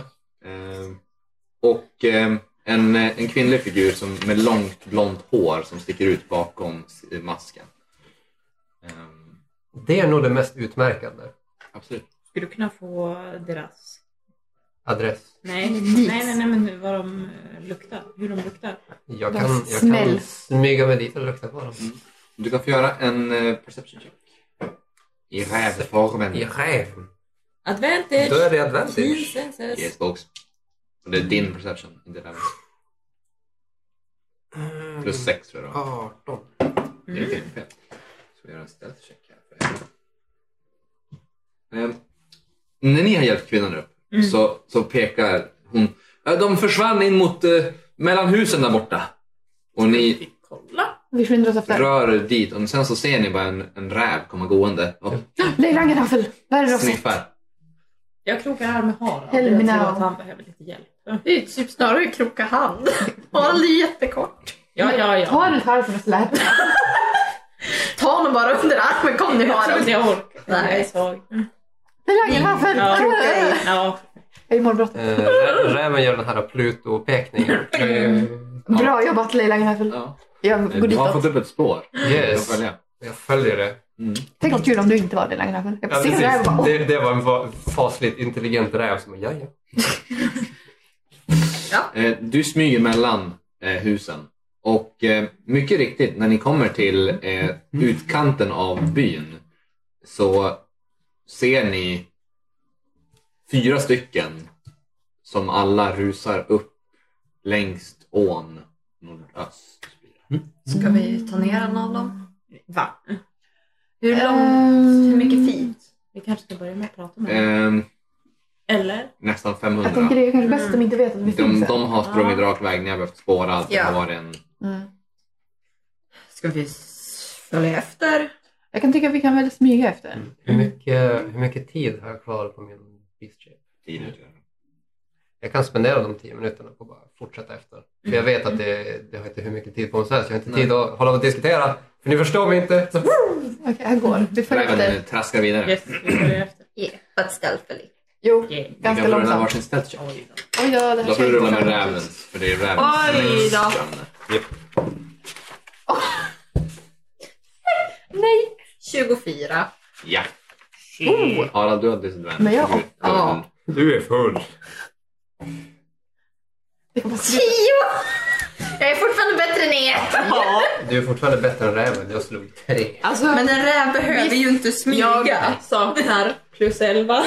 S2: Eh, och eh, en, eh, en kvinnlig figur som, med långt blont hår som sticker ut bakom s- masken. Eh,
S3: Det är nog det mest utmärkande.
S2: absolut.
S4: Skulle du kunna få deras...
S3: Adress.
S4: Nej,
S1: Dit.
S4: nej, nej, nej men nu, vad de eh, luktar. Hur de luktar.
S3: Jag
S1: De
S3: kan, jag kan
S1: smälls.
S3: smyga mig dit och lukta på dem.
S2: Du kan få göra en eh, perception check. I rävformen.
S3: I räv.
S4: Advantage!
S3: Då är det advantage.
S4: Teen senses.
S2: Yes, folks. Och det är din perception, inte rävens.
S3: Mm.
S2: Plus sex tror jag. då.
S3: 18.
S2: Det är fel. fel. Ska vi göra en stealth check här för henne. Ehm, när ni har hjälpt kvinnan upp så, så pekar hon. "Ja, De försvann in mot eh, mellan husen där borta. Och ni
S4: Kolla!
S1: Vi skyndar oss efter.
S2: rör er dit och sen så ser ni bara en, en räv komma gående och
S1: Leila Angenhaffel, vad är det du har sett?
S2: sniffar.
S4: Jag krokar arm med Harald.
S1: Help me
S4: jag tror
S1: now.
S4: att han behöver lite hjälp.
S5: Det är ju typ snarare kroka hand. Han är jättekort.
S4: Ja, ja, ja.
S1: Ta den här från släp.
S5: Ta honom bara under armen. Kom nu
S4: Jag tror inte
S5: Harald.
S4: jag orkar.
S5: Nej.
S4: Jag är svag.
S1: Leila Angenhaffel!
S4: Ja.
S1: Äh.
S4: Ja.
S1: Jag är morbrott.
S3: Eh, rä- räven gör den här Pluto-pekningen.
S1: Bra jobbat Leila Angenhaffel.
S2: Ja.
S1: Jag går
S2: Du har fått
S1: ditåt.
S2: upp ett spår.
S3: Yes.
S2: Jag följer.
S3: Jag följer det.
S2: Mm.
S1: Tänk vad kul om du inte var Leila Angenhaffel.
S3: Ja,
S1: Jag ser det här och bara,
S3: precis.
S1: åh,
S3: Det, det var en va- fasligt intelligent räv som ja, ja.
S2: Eh, du smyger mellan eh, husen. Och eh, mycket riktigt, när ni kommer till eh, utkanten av byn så ser ni fyra stycken som alla rusar upp längst ån nordöst.
S5: Ska vi ta ner en av dem?
S4: Va?
S5: Hur
S1: Ehm.
S5: Eh, Hur mycket fint?
S4: Vi kanske ska börja med att prata med honom.
S2: Eh,
S4: Eller?
S2: nästan
S1: Jag tänker
S2: 500.
S1: det är kanske bäst att de inte vet att vi
S2: De,
S1: finns här.
S2: de har sprungit rak väg, ni har behövt spåra allt. Det har
S5: Ja.
S2: varit en
S1: Mm.
S5: Ska vi s- följa efter?
S1: Jag kan tycka att vi kan väl smyga efter.
S3: Hur mycket, hur mycket tid har jag kvar på min beast shape?
S2: tid.
S3: Jag kan spendera de tio minuterna på att bara fortsätta efter. För jag vet att det, det har inte hur mycket tid på mig som helst. Jag har inte
S2: Nej.
S3: tid att hålla på och diskutera. För ni förstår mig inte. Så,
S1: Okej, här går. Vi följer efter.
S2: Räven traskar vidare.
S4: Yes, vi börjar efter.
S5: Yeah, but stealthily.
S1: Jo,
S4: Yeah.
S2: Ni kan
S1: ganska
S2: få rulla
S1: långsamt.
S2: varsin stealth check.
S4: Oj då.
S1: Oj då, det här
S2: Då får
S1: känns
S2: du rulla med
S1: inte
S2: rävens, för det är rävens
S4: Oj då.
S2: framme.
S5: 24.
S2: Ja.
S1: Oh.
S2: Harald, du har disadvantage.
S1: Men jag-
S2: Du-
S5: Ja.
S3: du är full.
S1: Det kan vara så-
S5: 10! Jag är fortfarande bättre än er.
S3: Du är fortfarande bättre än räven. Jag slog tre.
S4: Alltså,
S5: Men en räv behöver ju inte smyga.
S4: jag saknar plus 11.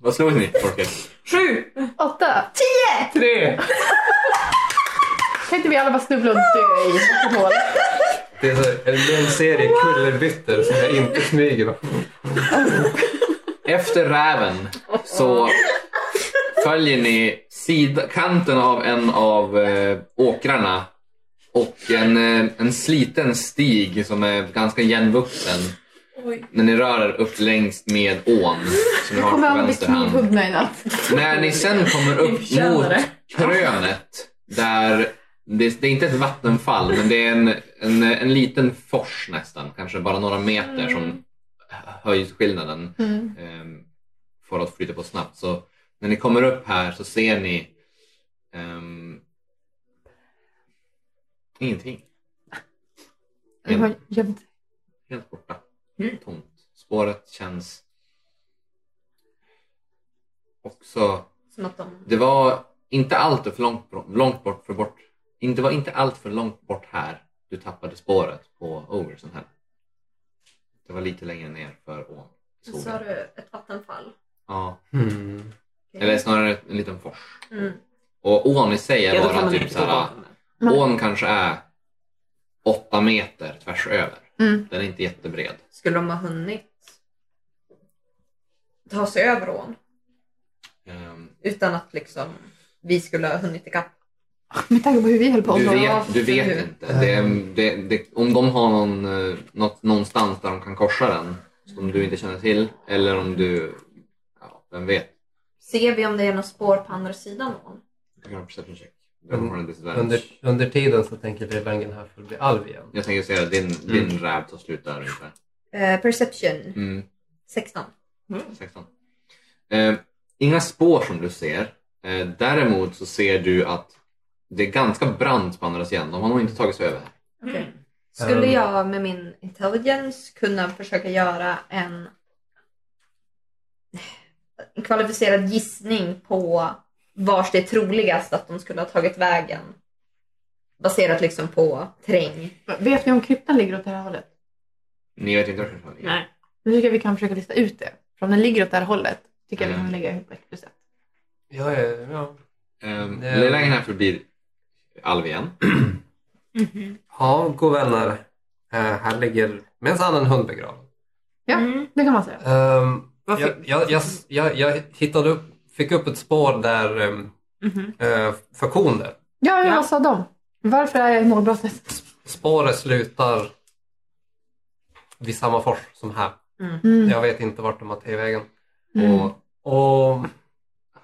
S2: Vad slog ni, Torkel?
S4: 7!
S1: Åtta!
S3: Tre!
S1: Kan inte vi alla bara snubbla och dö i ett hål?
S3: Det är så, en hel serie kullerbyttor som jag inte smyger med.
S2: Efter räven så följer ni sida, kanten av en av eh, åkrarna och en, eh, en sliten stig som är ganska igenvuxen.
S4: Oj.
S2: När ni rör er upp längs med ån som ni har
S1: Kommer
S2: på
S1: han bli
S2: vänster hand.
S1: knivhuggna i natt?
S2: När ni sen kommer
S4: Ni
S2: upp
S4: förtjänar
S2: mot
S4: det.
S2: krönet där det, det är inte ett vattenfall men det är en, en, en liten fors nästan, kanske bara några meter som höjdskillnaden
S1: Mm.
S2: ehm, får att flyta på snabbt. Så när ni kommer upp här så ser ni ehm, ingenting.
S1: Jag har gömt.
S2: Helt borta. Tomt. Spåret känns också
S5: Som att de...
S2: Det var inte allt för långt, bro- långt bort för bort. Inte det var inte allt för långt bort här du tappade spåret på Overson här. Det var lite längre ner för ån. i skogen.
S5: Sa du ett vattenfall?
S2: Ja,
S3: Hmm.
S2: eller snarare en liten fors.
S5: Mm.
S2: Och ån i sig är
S4: Ja, då kan
S2: bara
S4: man
S2: typ
S4: inte
S2: så här.
S4: gå bakom den.
S1: Men-
S2: Ån kanske är åtta meter tvärs över.
S1: Mm.
S2: Den är inte jättebred.
S5: Skulle de ha hunnit ta sig över ån
S2: Ehm,
S5: utan att liksom vi skulle ha hunnit ikapp?
S1: Med tanke på hur vi höll på.
S2: Du
S1: så-
S2: vet, du
S5: hur?
S2: vet inte. Det, är- det, det, om de har någon, eh, något, någonstans där de kan korsa den som du inte känner till eller om du, ja, vem vet.
S5: Ser vi om det är några spår på andra sidan ån?
S2: Jag kan ha perception check.
S3: Mm.
S2: Jag har en disadvantage.
S3: Under, under tiden så tänker drevängen här för bli alv igen.
S2: Jag tänker säga att din,
S3: Mm.
S2: din räv tar slut där ungefär.
S5: Eh, perception.
S2: Mm.
S5: 16.
S2: 16. Eh, inga spår som du ser. Eh, däremot så ser du att det är ganska brant på andra sidan. De har nog inte tagit sig över här.
S5: Okej. Skulle
S3: Um.
S5: jag med min intelligence kunna försöka göra en en kvalificerad gissning på vars det är troligast att de skulle ha tagit vägen? Baserat liksom på terräng.
S1: Vet ni om kryptan ligger åt det här hållet?
S2: Ni vet inte vart det är.
S4: Nej.
S1: Nu tycker jag vi kan försöka lista ut det. För om den ligger åt det här hållet tycker jag vi kan
S2: Mm.
S1: lägga ihop ett plus ett.
S3: Ja, ja, ja.
S2: Ehm,
S3: Nej.
S2: Lilla vägen här förbi Alv igen.
S3: ja, god vänner. Eh, här ligger minst en hund begravd.
S1: Ja,
S4: Mm.
S1: det kan man säga.
S3: Ehm,
S4: Varför?
S3: jag, jag, jag, jag, jag hittade upp, fick upp ett spår där ehm,
S4: Mhm.
S3: eh, för kon där.
S1: Ja, jag
S4: Ja.
S1: sa dem. Varför är jag i målbrottet?
S3: Spåret slutar vid samma fors som här.
S1: Mm.
S3: Jag vet inte vart de har T-vägen.
S1: Mm.
S3: Och, och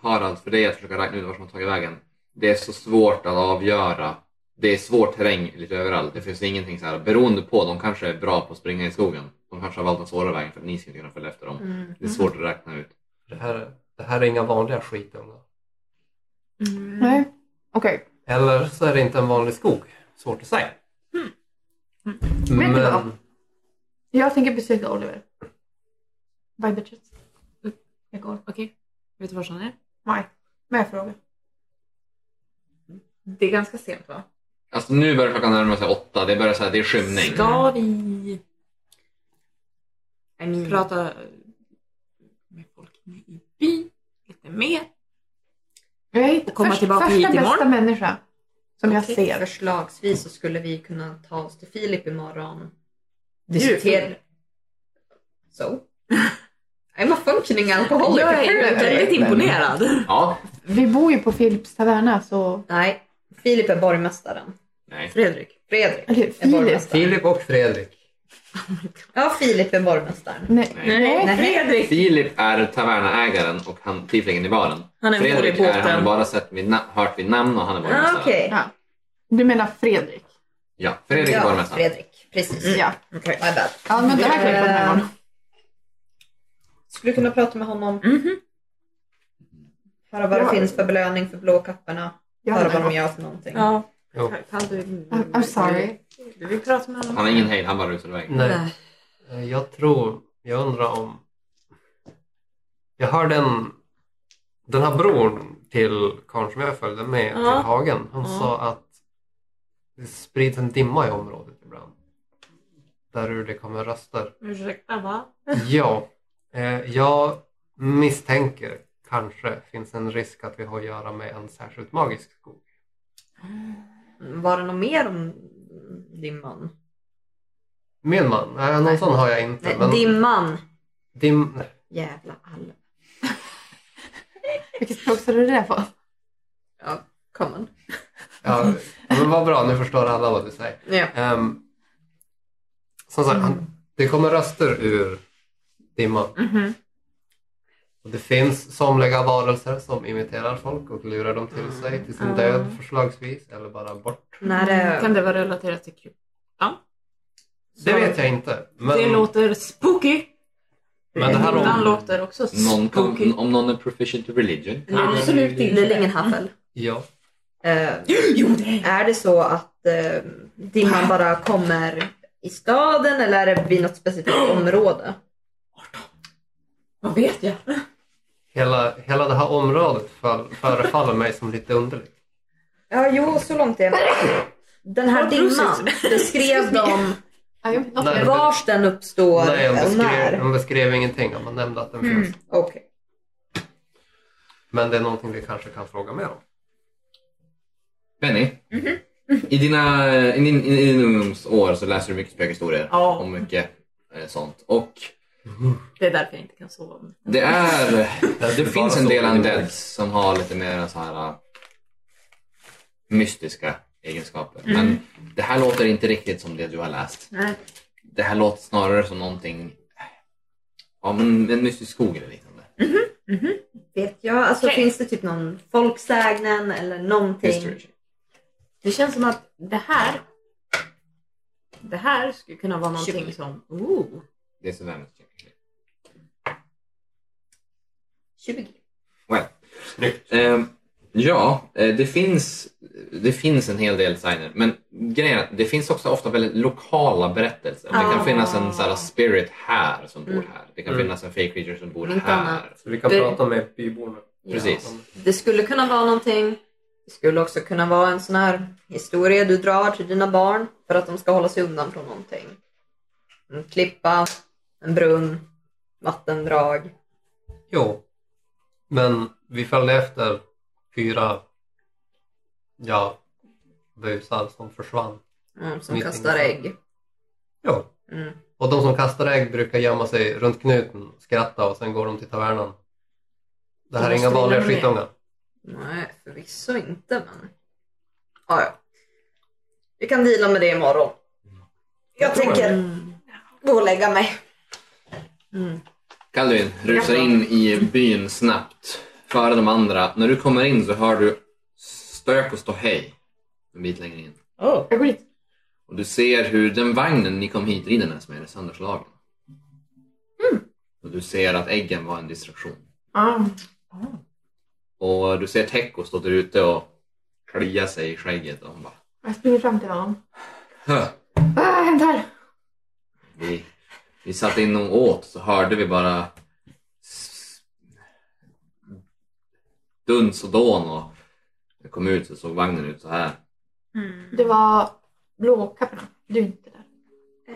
S2: Harald, för dig att försöka räkna ut vart de har tagit vägen. Det är så svårt att avgöra. Det är svår terräng lite överallt. Det finns ingenting så här. Beroende på, de kanske är bra på att springa i skogen. De kanske har valt den svåra vägen för att ni ska kunna följa efter dem.
S5: Mm.
S2: Det är svårt att räkna ut.
S3: det, här, det här är inga vanliga skitungar.
S4: Mm.
S1: Nej, okej.
S3: Eller så är det inte en vanlig skog. Svårt att säga. Mm.
S1: Vet du vad?
S3: Men
S1: Jag tänker besöka Oliver. Bye bitches. Jag går.
S4: Okej. Vet du var han är?
S1: Nej, men jag frågar.
S4: Det är ganska sent va?
S2: Alltså nu börjar klockan närma sig åtta. Det börjar så här, det är skymning.
S4: Ska vi
S5: I mean,
S4: prata med folk inne i byn lite mer?
S1: Jag hittar
S4: Och komma tillbaka
S1: första
S4: hit imorgon.
S1: bästa människa som jag
S5: okej.
S1: ser.
S5: Förslagsvis så skulle vi kunna ta oss till Filip imorgon.
S4: är ju
S5: Diskutera.
S4: kul.
S5: So? I'm a functioning alcoholic.
S4: Jag är
S5: apparently.
S4: väldigt imponerad.
S2: Ja.
S1: Vi bor ju på Philips taverna så...
S5: Nej, Filip är borgmästaren.
S2: Nej.
S5: Fredrik. Fredrik.
S1: Eller
S5: är
S1: Filip.
S5: borgmästaren.
S3: Filip och Fredrik.
S5: Ja, Filip är borgmästaren.
S1: Nej.
S2: Nej.
S1: Nej.
S5: Nej.
S4: Fredrik!
S2: Filip är tavernaägaren och han tieflingen i baren.
S4: Han är en
S2: Fredrik är
S4: volleybåten.
S2: han bara sett vid na- hört vid namn och han är
S5: Ah,
S2: borgmästare.
S5: Okej.
S1: Ja. Du menar Fredrik?
S2: Ja, Fredrik är
S5: Ja,
S2: borgmästare.
S5: Fredrik. Precis.
S1: Ja.
S5: My bad. Eh,
S1: Ja, men det här kan vi prata med imorgon.
S5: Skulle kunna prata med honom.
S4: Mhm.
S5: Höra vad det
S1: Ja.
S5: finns för belöning för blåkapparna.
S1: Jag
S5: Höra vad
S1: hade-
S5: de gör för någonting.
S4: Ja.
S3: Jo.
S4: Kan du... Mm.
S1: I'm I'm sorry.
S4: Du vill prata med honom?
S2: Han har ingen hejd, han bara rusar iväg.
S5: Mm.
S3: Nej. Eh, Jag tror, jag undrar om... Jag hörde en... Den här bror till karln som jag följde med
S4: Ja.
S3: till hagen. Han
S4: Ja.
S3: sa att det sprids en dimma i området ibland. Där ur det kommer röster.
S4: Ursäkta va?
S3: Ja, eh, jag misstänker kanske finns en risk att vi har att göra med en särskilt magisk skog.
S5: Var det något mer om dimman?
S3: Min man? Nej, någon sån har jag inte.
S5: Nej,
S3: men
S5: Dimman.
S3: dim,
S5: Jävla all.
S1: Vilket språk sa du det där på?
S5: Ja, come on.
S3: ja, men vad bra, nu förstår alla vad du säger.
S5: Ja. Mm.
S3: Ehm, som sagt, han, det kommer röster ur dimman.
S5: Mm-hmm.
S3: Och det finns somliga varelser som imiterar folk och lurar dem till sig, till sin
S5: Ah.
S4: Mm.
S3: död förslagsvis, eller bara bort.
S5: När eh, det...
S4: Kan det vara relaterat till kryp?
S3: Det vet jag inte. Men,
S4: Det låter spooky!
S3: men det här
S4: Dimman
S3: om,
S4: låter också
S2: Någon
S4: spooky.
S2: om någon är proficient i religion.
S5: Mm.
S4: Absolut inte.
S5: Lillingenhaffel.
S3: Ja.
S5: Eh,
S4: Jo det är
S5: Är det så att eh, dimman bara kommer i staden eller är det vid något specifikt område?
S4: Vad vet jag?
S3: Hela, hela det här området för, förefaller mig som lite underligt.
S5: Ja, jo, så långt är jag Den här
S4: Ja,
S5: dimman
S4: precis.
S5: beskrev de
S1: Ja, jag vet inte.
S3: Nej.
S5: vars den uppstår
S3: Nej, hon
S5: och
S3: beskrev,
S5: när.
S3: hon beskrev ingenting. Hon nämnde att den
S5: Mm,
S3: finns.
S5: Okej.
S3: Men det är någonting vi kanske kan fråga mer om.
S2: Benny,
S4: Mhm.
S2: i, dina, i, din, i dina ungdomsår så läser du mycket spökhistorier
S4: Ja.
S2: och mycket eh, sånt. Och
S4: Det är därför jag inte kan sova. om
S2: det är... Det
S3: Bara
S2: finns en
S3: så.
S2: del undeads som har lite mer så här äh, mystiska egenskaper. Men det här låter inte riktigt som det du har läst.
S4: Mm. Nej.
S2: Det här låter snarare som någonting, ja men en mystisk skog eller liknande.
S5: Vet jag. Alltså
S4: Okej.
S5: finns det typ någon folksägnen eller någonting?
S2: History check.
S4: Det känns som att det här det här skulle kunna vara någonting
S5: Tjugo.
S4: som... Ooh.
S2: Det är surveillance check.
S5: 20.
S2: Snyggt. Ehm, ja, eh, det finns, det finns en hel del signer. Men grejen är att det finns också ofta väldigt lokala berättelser. Det
S4: Ah.
S2: kan finnas en så här, spirit här som bor
S4: Mm.
S2: här. Det kan
S3: Mm.
S2: finnas en fake creature som bor
S4: Inte
S2: här.
S4: annat.
S3: Så vi kan
S4: Det-
S3: prata med byborna.
S2: Precis.
S5: Det skulle kunna vara någonting. Det skulle också kunna vara en sån här historia du drar till dina barn för att de ska hålla sig undan från någonting. En klippa, en brunn, vattendrag.
S3: Jo. Men vi följde efter fyra ja, busar som försvann.
S5: Mm, som
S3: Mitt
S5: kastar
S3: ingenstans.
S5: ägg.
S3: Jo.
S5: Mm.
S3: Och de som kastar ägg brukar gömma sig runt knuten, skratta och sen går de till tavernan. Det här
S4: Då
S3: är inga
S4: måste vi
S3: vanliga
S4: lämna med.
S3: skitungar.
S5: Nej, förvisso inte men... Ah, ja. Vi kan deala med det imorgon. Jag tänker
S4: Mm.
S5: gå och lägga mig.
S4: Mm.
S2: Calvin rusar in i byn snabbt före de andra. När du kommer in så hör du stök och ståhej en bit längre in.
S4: Oh.
S1: Jag går dit.
S2: Och du ser hur den vagnen ni kom hit ridandes med är sönderslagen.
S4: Mm.
S2: Och du ser att äggen var en distraktion.
S1: Ah.
S2: Och du ser Teko stå där ute och klia sig i skägget och hon bara
S1: Jag springer fram till honom.
S2: "Hö,
S1: Vad har hänt här?
S2: vi, vi satt in och åt så hörde vi bara s- duns och dån och när jag kom ut så såg vagnen ut så här.
S1: Det var blåkapporna. Du är inte där.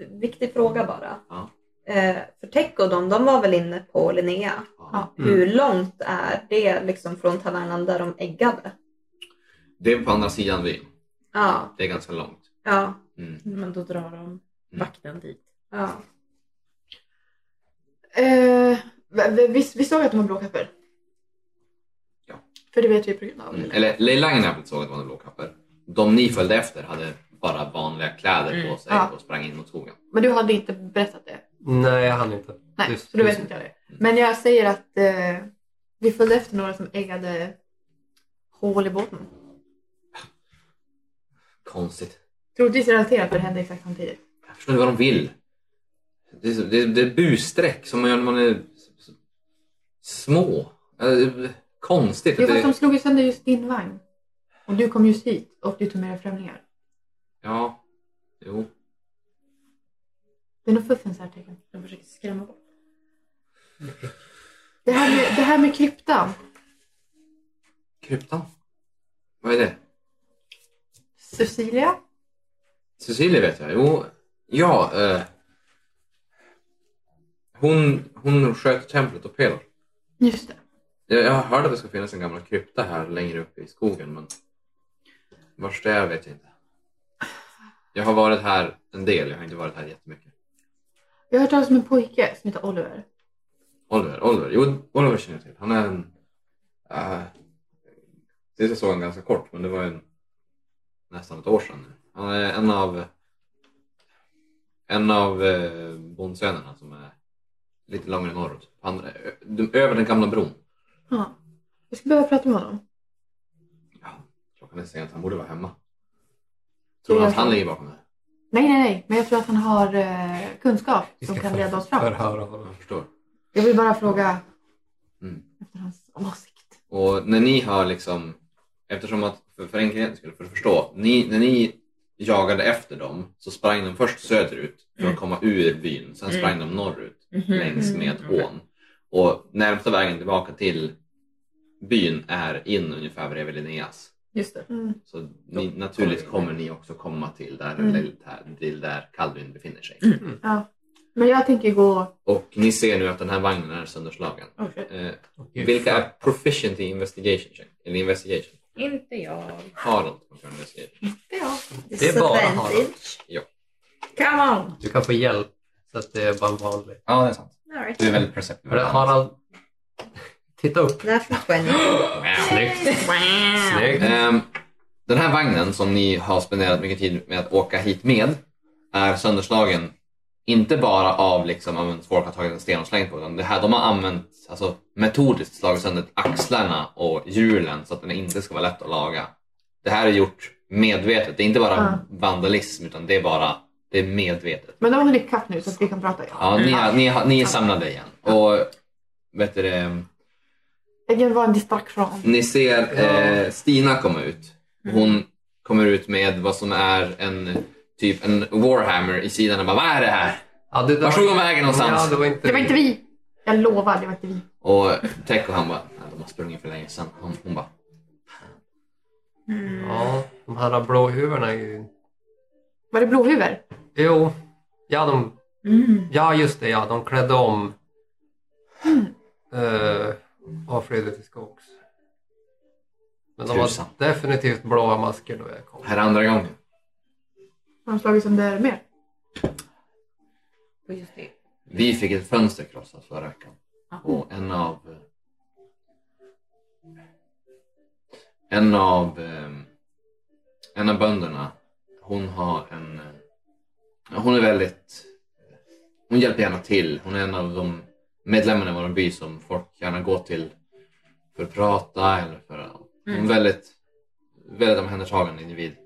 S5: Eh, Viktig fråga bara.
S2: Ja.
S5: Eh, för Tech och de, de var väl inne på Linnea?
S1: Ja.
S3: Mm.
S5: Hur långt är det liksom från tavernan där de äggade?
S2: Det är på andra sidan byn.
S5: Ja,
S2: Det är ganska långt.
S5: ja,
S2: Mm.
S4: Men då drar de vakten dit.
S5: ja.
S1: Eh, vi, vi, vi såg att de var blåkappor.
S2: Ja.
S1: För det vet vi på grund av
S2: Mm.
S1: det.
S2: Eller Leila Gnabbt såg att det var några blåkappor. De ni följde efter hade bara vanliga kläder
S4: Mm.
S2: på sig
S1: Ja.
S2: och sprang in mot skogen.
S1: Men du hade inte berättat det.
S3: Nej, jag hann inte.
S1: Nej,
S3: Just-
S1: så du vet
S3: just-
S1: inte jag det. Men jag säger att eh, vi följde efter några som äggade hål i båten.
S2: Konstigt.
S1: Troligtvis relaterat för det hände exakt samtidigt.
S2: Jag förstår inte vad de vill. Det är, så- det är, det är busstreck som man gör när man är s- s- små. Ja, det är Konstigt.
S1: Jo,
S2: att
S1: fast de
S2: Det,
S1: slog ju sönder just din vagn. Och du kom just hit och du tog med dig främlingar.
S2: ja. Jo.
S1: Det är nog fuffens här tecken.
S4: De försöker skrämma bort.
S1: Det här med, det här med kryptan.
S2: Kryptan. Vad är det?
S1: Cecilia?
S2: Cecilia vet jag. Jo. Ja. Eh, hon, hon sköt templet och Pelor.
S1: Just det.
S2: Jag, jag hörde att det ska finnas en gammal krypta här längre upp i skogen men vars det är vet jag inte. Jag har varit här en del, jag har inte varit här jättemycket.
S1: Jag har hört talas om en pojke som heter Oliver.
S2: Oliver, Oliver, jo Oliver känner jag till. Han är en... Uh, jag såg honom ganska kort men det var en, nästan ett år sedan. nu. Han är en av en av eh, bondsönerna som är lite längre norrut. Han, ö- de- över den gamla bron.
S1: Ja. Jag ska behöva prata med honom.
S2: Ja, klockan är sent, han borde vara hemma. Tror
S1: Det
S2: du
S1: gör
S2: att han
S1: jag.
S2: ligger bakom det? här?
S1: Nej, nej, nej. Men jag tror att han har eh, kunskap
S3: Vi
S1: som
S3: ska
S1: kan
S3: för-
S1: leda oss fram.
S3: Förhöra honom.
S2: Jag förstår.
S1: Jag vill bara fråga
S2: Mm.
S1: efter hans åsikt.
S2: Och när ni har liksom, eftersom att för, för enkelhetens skull, för att förstå, ni, när ni jagade efter dem så sprang de först söderut för att komma ur byn, sen sprang de norrut
S4: Mm.
S2: längs med ån. Och närmsta vägen tillbaka till byn är in ungefär bredvid Linneas.
S4: Just det.
S1: Mm.
S2: Så ni, naturligt kommer ni också komma till där,
S1: Mm.
S2: där, till där Calvin befinner sig.
S1: Men jag tänker gå...
S2: Och ni ser nu att den här vagnen är sönderslagen.
S4: Oh, shit.
S2: Eh, Vilka är proficient i investigation check? Eller investigation?
S4: Inte jag.
S2: Harold som kan investigation.
S4: Inte jag.
S3: Det är bara
S5: Disadvantage.
S3: Harald.
S4: Come on!
S3: Du kan få hjälp. Så att det är bara en vanlig.
S2: Ja, det är sant.
S5: All right.
S2: Du är väldigt perceptiv.
S3: För det- Harald, titta upp.
S5: Natural 20.
S3: Snyggt. Snyggt.
S2: Ehm, den här vagnen som ni har spenderat mycket tid med att åka hit med är sönderslagen Inte bara av liksom, ja, men folk har tagit en sten och slängt på den. Det här, de har använt alltså, metodiskt slagit sönder axlarna och hjulen så att den inte ska vara lätt att laga. Det här är gjort medvetet. Det är inte bara
S1: Ja.
S2: vandalism utan det är bara det är medvetet.
S1: Men de har hunnit ikapp nu så att vi kan prata.
S2: Ja, ni,
S3: Mm.
S2: är, ni, är, ni är samlade igen. Och vet du, det,
S1: Det var en distraktion.
S2: ni ser
S3: Ja. Mm.
S2: eh, Stina komma ut. Hon kommer ut med vad som är en typ en Warhammer i sidan och bara vad är det här?
S3: Ja, det, det
S2: Var tog de vägen någonstans?
S3: Ja, det var inte
S1: Det var inte vi. Jag lovar, det var inte vi.
S2: Och Tech och han bara, "Nej, de har sprungit för länge sedan. Hon, hon bara,
S3: Ja, de här blåhuvudena är ju...
S1: Var det blåhuvor?
S3: Jo, ja, de...
S4: Mm.
S3: ja just det, ja, de klädde om eh, av Fredrik till skogs. Men de
S2: Tusan.
S3: var definitivt blåa masker då jag kom.
S2: här är andra gången.
S1: Har de slagit sönder mer?
S5: Och just det.
S2: Vi fick ett fönster krossat förra veckan. Och en av... En av... eh, En av bönderna, hon har en... eh, Hon är väldigt... Hon hjälper gärna till. Hon är en av de medlemmarna i vår by som folk gärna går till för att prata eller för att... Hon är en väldigt, väldigt omhändertagande individ.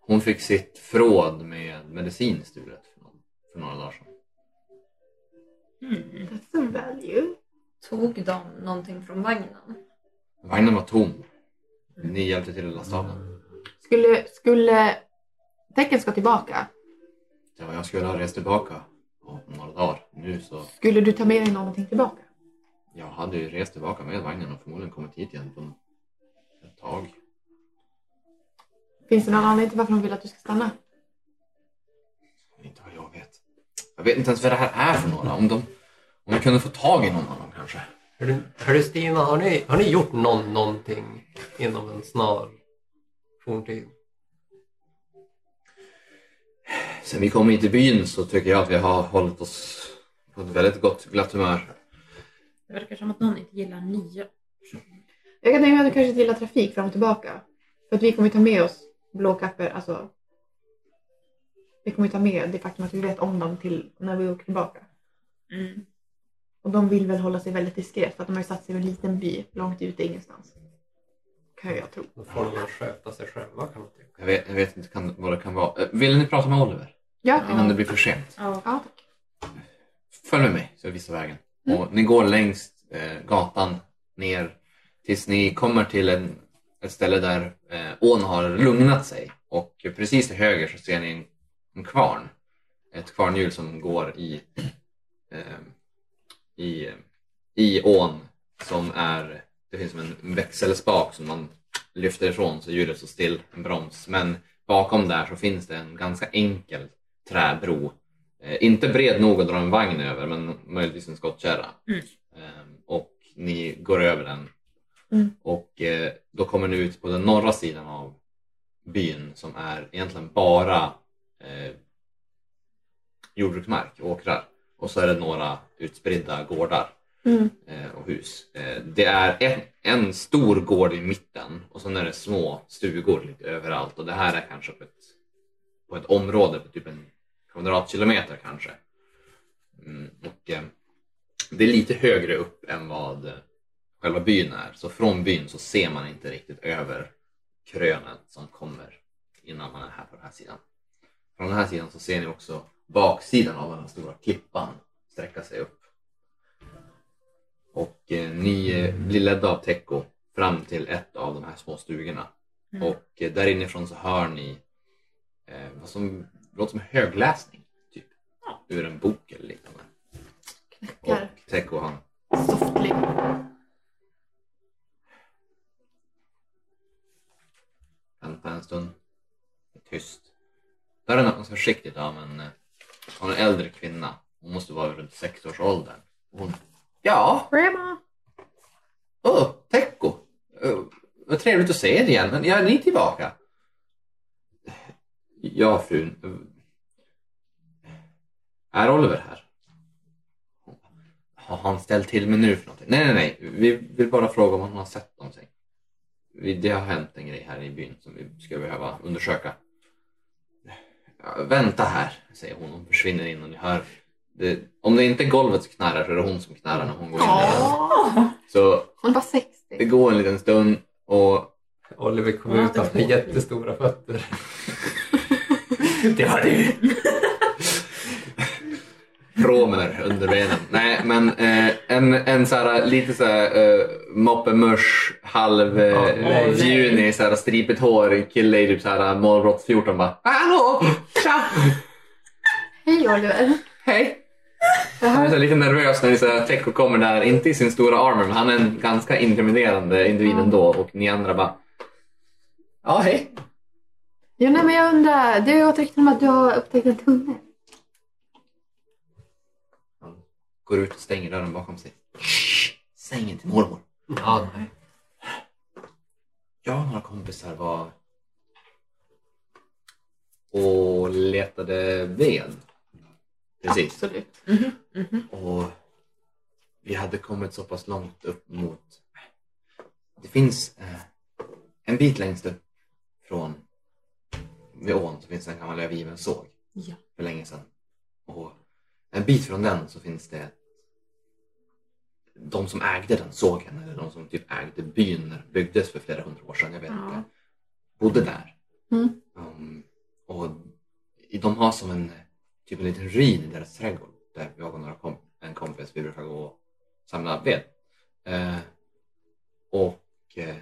S2: Hon fick sitt förråd med medicin stulet för, någon, för några dagar sedan.
S4: Mm.
S1: That's a value.
S5: Tog de någonting från vagnen?
S2: Vagnen var tom. Ni hjälpte till att lasta av den.
S1: Skulle, skulle tecken ska tillbaka,
S2: Det var jag skulle ha rest tillbaka om några dagar. Nu så...
S1: skulle du ta med dig någonting tillbaka?
S2: Jag hade ju rest tillbaka med vagnen och förmodligen kommit hit igen på ett tag.
S1: Finns det någon anledning till varför de vill att du ska stanna?
S2: Inte vad jag vet. Jag vet inte ens vad det här är för några. Om, de, om vi kunde få tag i någon av dem kanske.
S3: Hörru- Hörru Stina, har ni, har ni gjort någon, någonting inom en snar forntid?
S2: Sen vi kom hit till byn så tycker jag att vi har hållit oss på ett väldigt gott glatt humör.
S4: Det verkar som att någon inte gillar nya.
S1: Jag kan tänka mig att du kanske inte gillar trafik fram och tillbaka. För att vi kommer ju ta med oss blåkappor, alltså. Vi kommer ju ta med det faktum att vi vet om dem till när vi åker tillbaka.
S4: Mm.
S1: Och de vill väl hålla sig väldigt diskret för att de har ju satt sig i en liten by långt ute ingenstans. Kan jag tro.
S3: Då får de väl sköta sig själva kan man tycka.
S2: Jag vet, jag vet inte kan, vad det kan vara. Eh, Vill ni prata med Oliver?
S1: Ja,
S2: Innan det blir för sent.
S4: Ja.
S1: ja tack.
S2: följ med mig så jag visar vägen. Och ni går längs eh, gatan ner tills ni kommer till en, ett ställe där eh, ån har lugnat sig. Och precis till höger så ser ni en, en kvarn. Ett kvarnhjul som går i, eh, i, i ån som är, det finns som en växelspak som man lyfter ifrån så hjulet står still, en broms. Men bakom där så finns det en ganska enkel träbro Eh, inte bred nog att dra en vagn över men möjligtvis en skottkärra.
S4: Mm.
S2: Ehm, och ni går över den.
S1: Mm.
S2: Och eh, då kommer ni ut på den norra sidan av byn som är egentligen bara eh, jordbruksmark, åkrar. Och så är det några utspridda gårdar
S1: Mm.
S2: eh, och hus. Eh, Det är en, en stor gård i mitten och sen är det små stugor lite överallt och det här är kanske på ett, på ett område på typ en kvadratkilometer kanske. Mm, och eh, Det är lite högre upp än vad eh, själva byn är så från byn så ser man inte riktigt över krönet som kommer innan man är här på den här sidan. Från den här sidan så ser ni också baksidan av den här stora klippan sträcka sig upp. Och eh, ni eh, blir ledda av Teko fram till ett av de här små stugorna.
S4: Mm.
S2: Och eh, där inifrån så hör ni eh, vad som låter som högläsning. Typ. Ur en bok eller liknande.
S1: Knäckar.
S2: Och Teko han.
S1: Softly.
S2: Vänta en stund. Det är tyst. Dörren öppnas försiktigt av en, eh, av en äldre kvinna. Hon måste vara runt sex års ålder. Hon, ja,
S1: Grandma.
S2: åh, Teko. Uh, vad trevligt att se er igen. Men ja, ni är tillbaka. Ja, frun. eh, Är Oliver här? Har han ställt till med nu för någonting? Nej, nej, nej. Vi vill bara fråga om han har sett någonting. Vi- Det har hänt en grej här i byn som vi ska behöva undersöka. Ja, vänta här, säger hon. Hon försvinner innan ni hör. Det, om det inte är golvet som knarrar så är det hon som knarrar när hon går in. där. Så
S1: Hon var 60.
S2: det går en liten stund och
S3: Oliver kom ut och med jättestora fötter.
S2: det var du. Romer under benen. Nej, men eh, en, en så här, lite så här eh, moppemörs, halv eh,
S3: Åh, nej.
S2: juni, så här, stripigt hår, kille i typ så här målbrott 14 bara "Ah, Hallå! Tja!
S1: Hej Oliver.
S2: Hej! Han är så här lite nervös när ni så här Teko kommer där, inte i sin stora armor, men han är en ganska intimiderande individ ändå och ni andra bara Ja, hej!
S1: Jo, nej, men jag undrar, du har ett rykte om att du har upptäckt en tunnel.
S2: Går ut och stänger dörren bakom sig. Shh, Säg inget till mormor.
S3: Ja, nej.
S2: Jag och några kompisar var och letade ved. Precis.
S1: Absolut.
S2: Och vi hade kommit så pass långt upp mot... Det finns eh, en bit längst upp från vid ån så finns det en gammal övergiven såg
S4: Ja.
S2: för länge sedan. Och en bit från den så finns det de som ägde den sågen eller de som typ ägde byn när den byggdes för flera hundra år sedan, jag vet
S4: Ja.
S2: inte, bodde där.
S1: Mm.
S2: Um, och de har som en typ en liten ruin i deras trädgård där jag och några kom, en kompis, vi brukar gå och samla ved. Eh, och eh,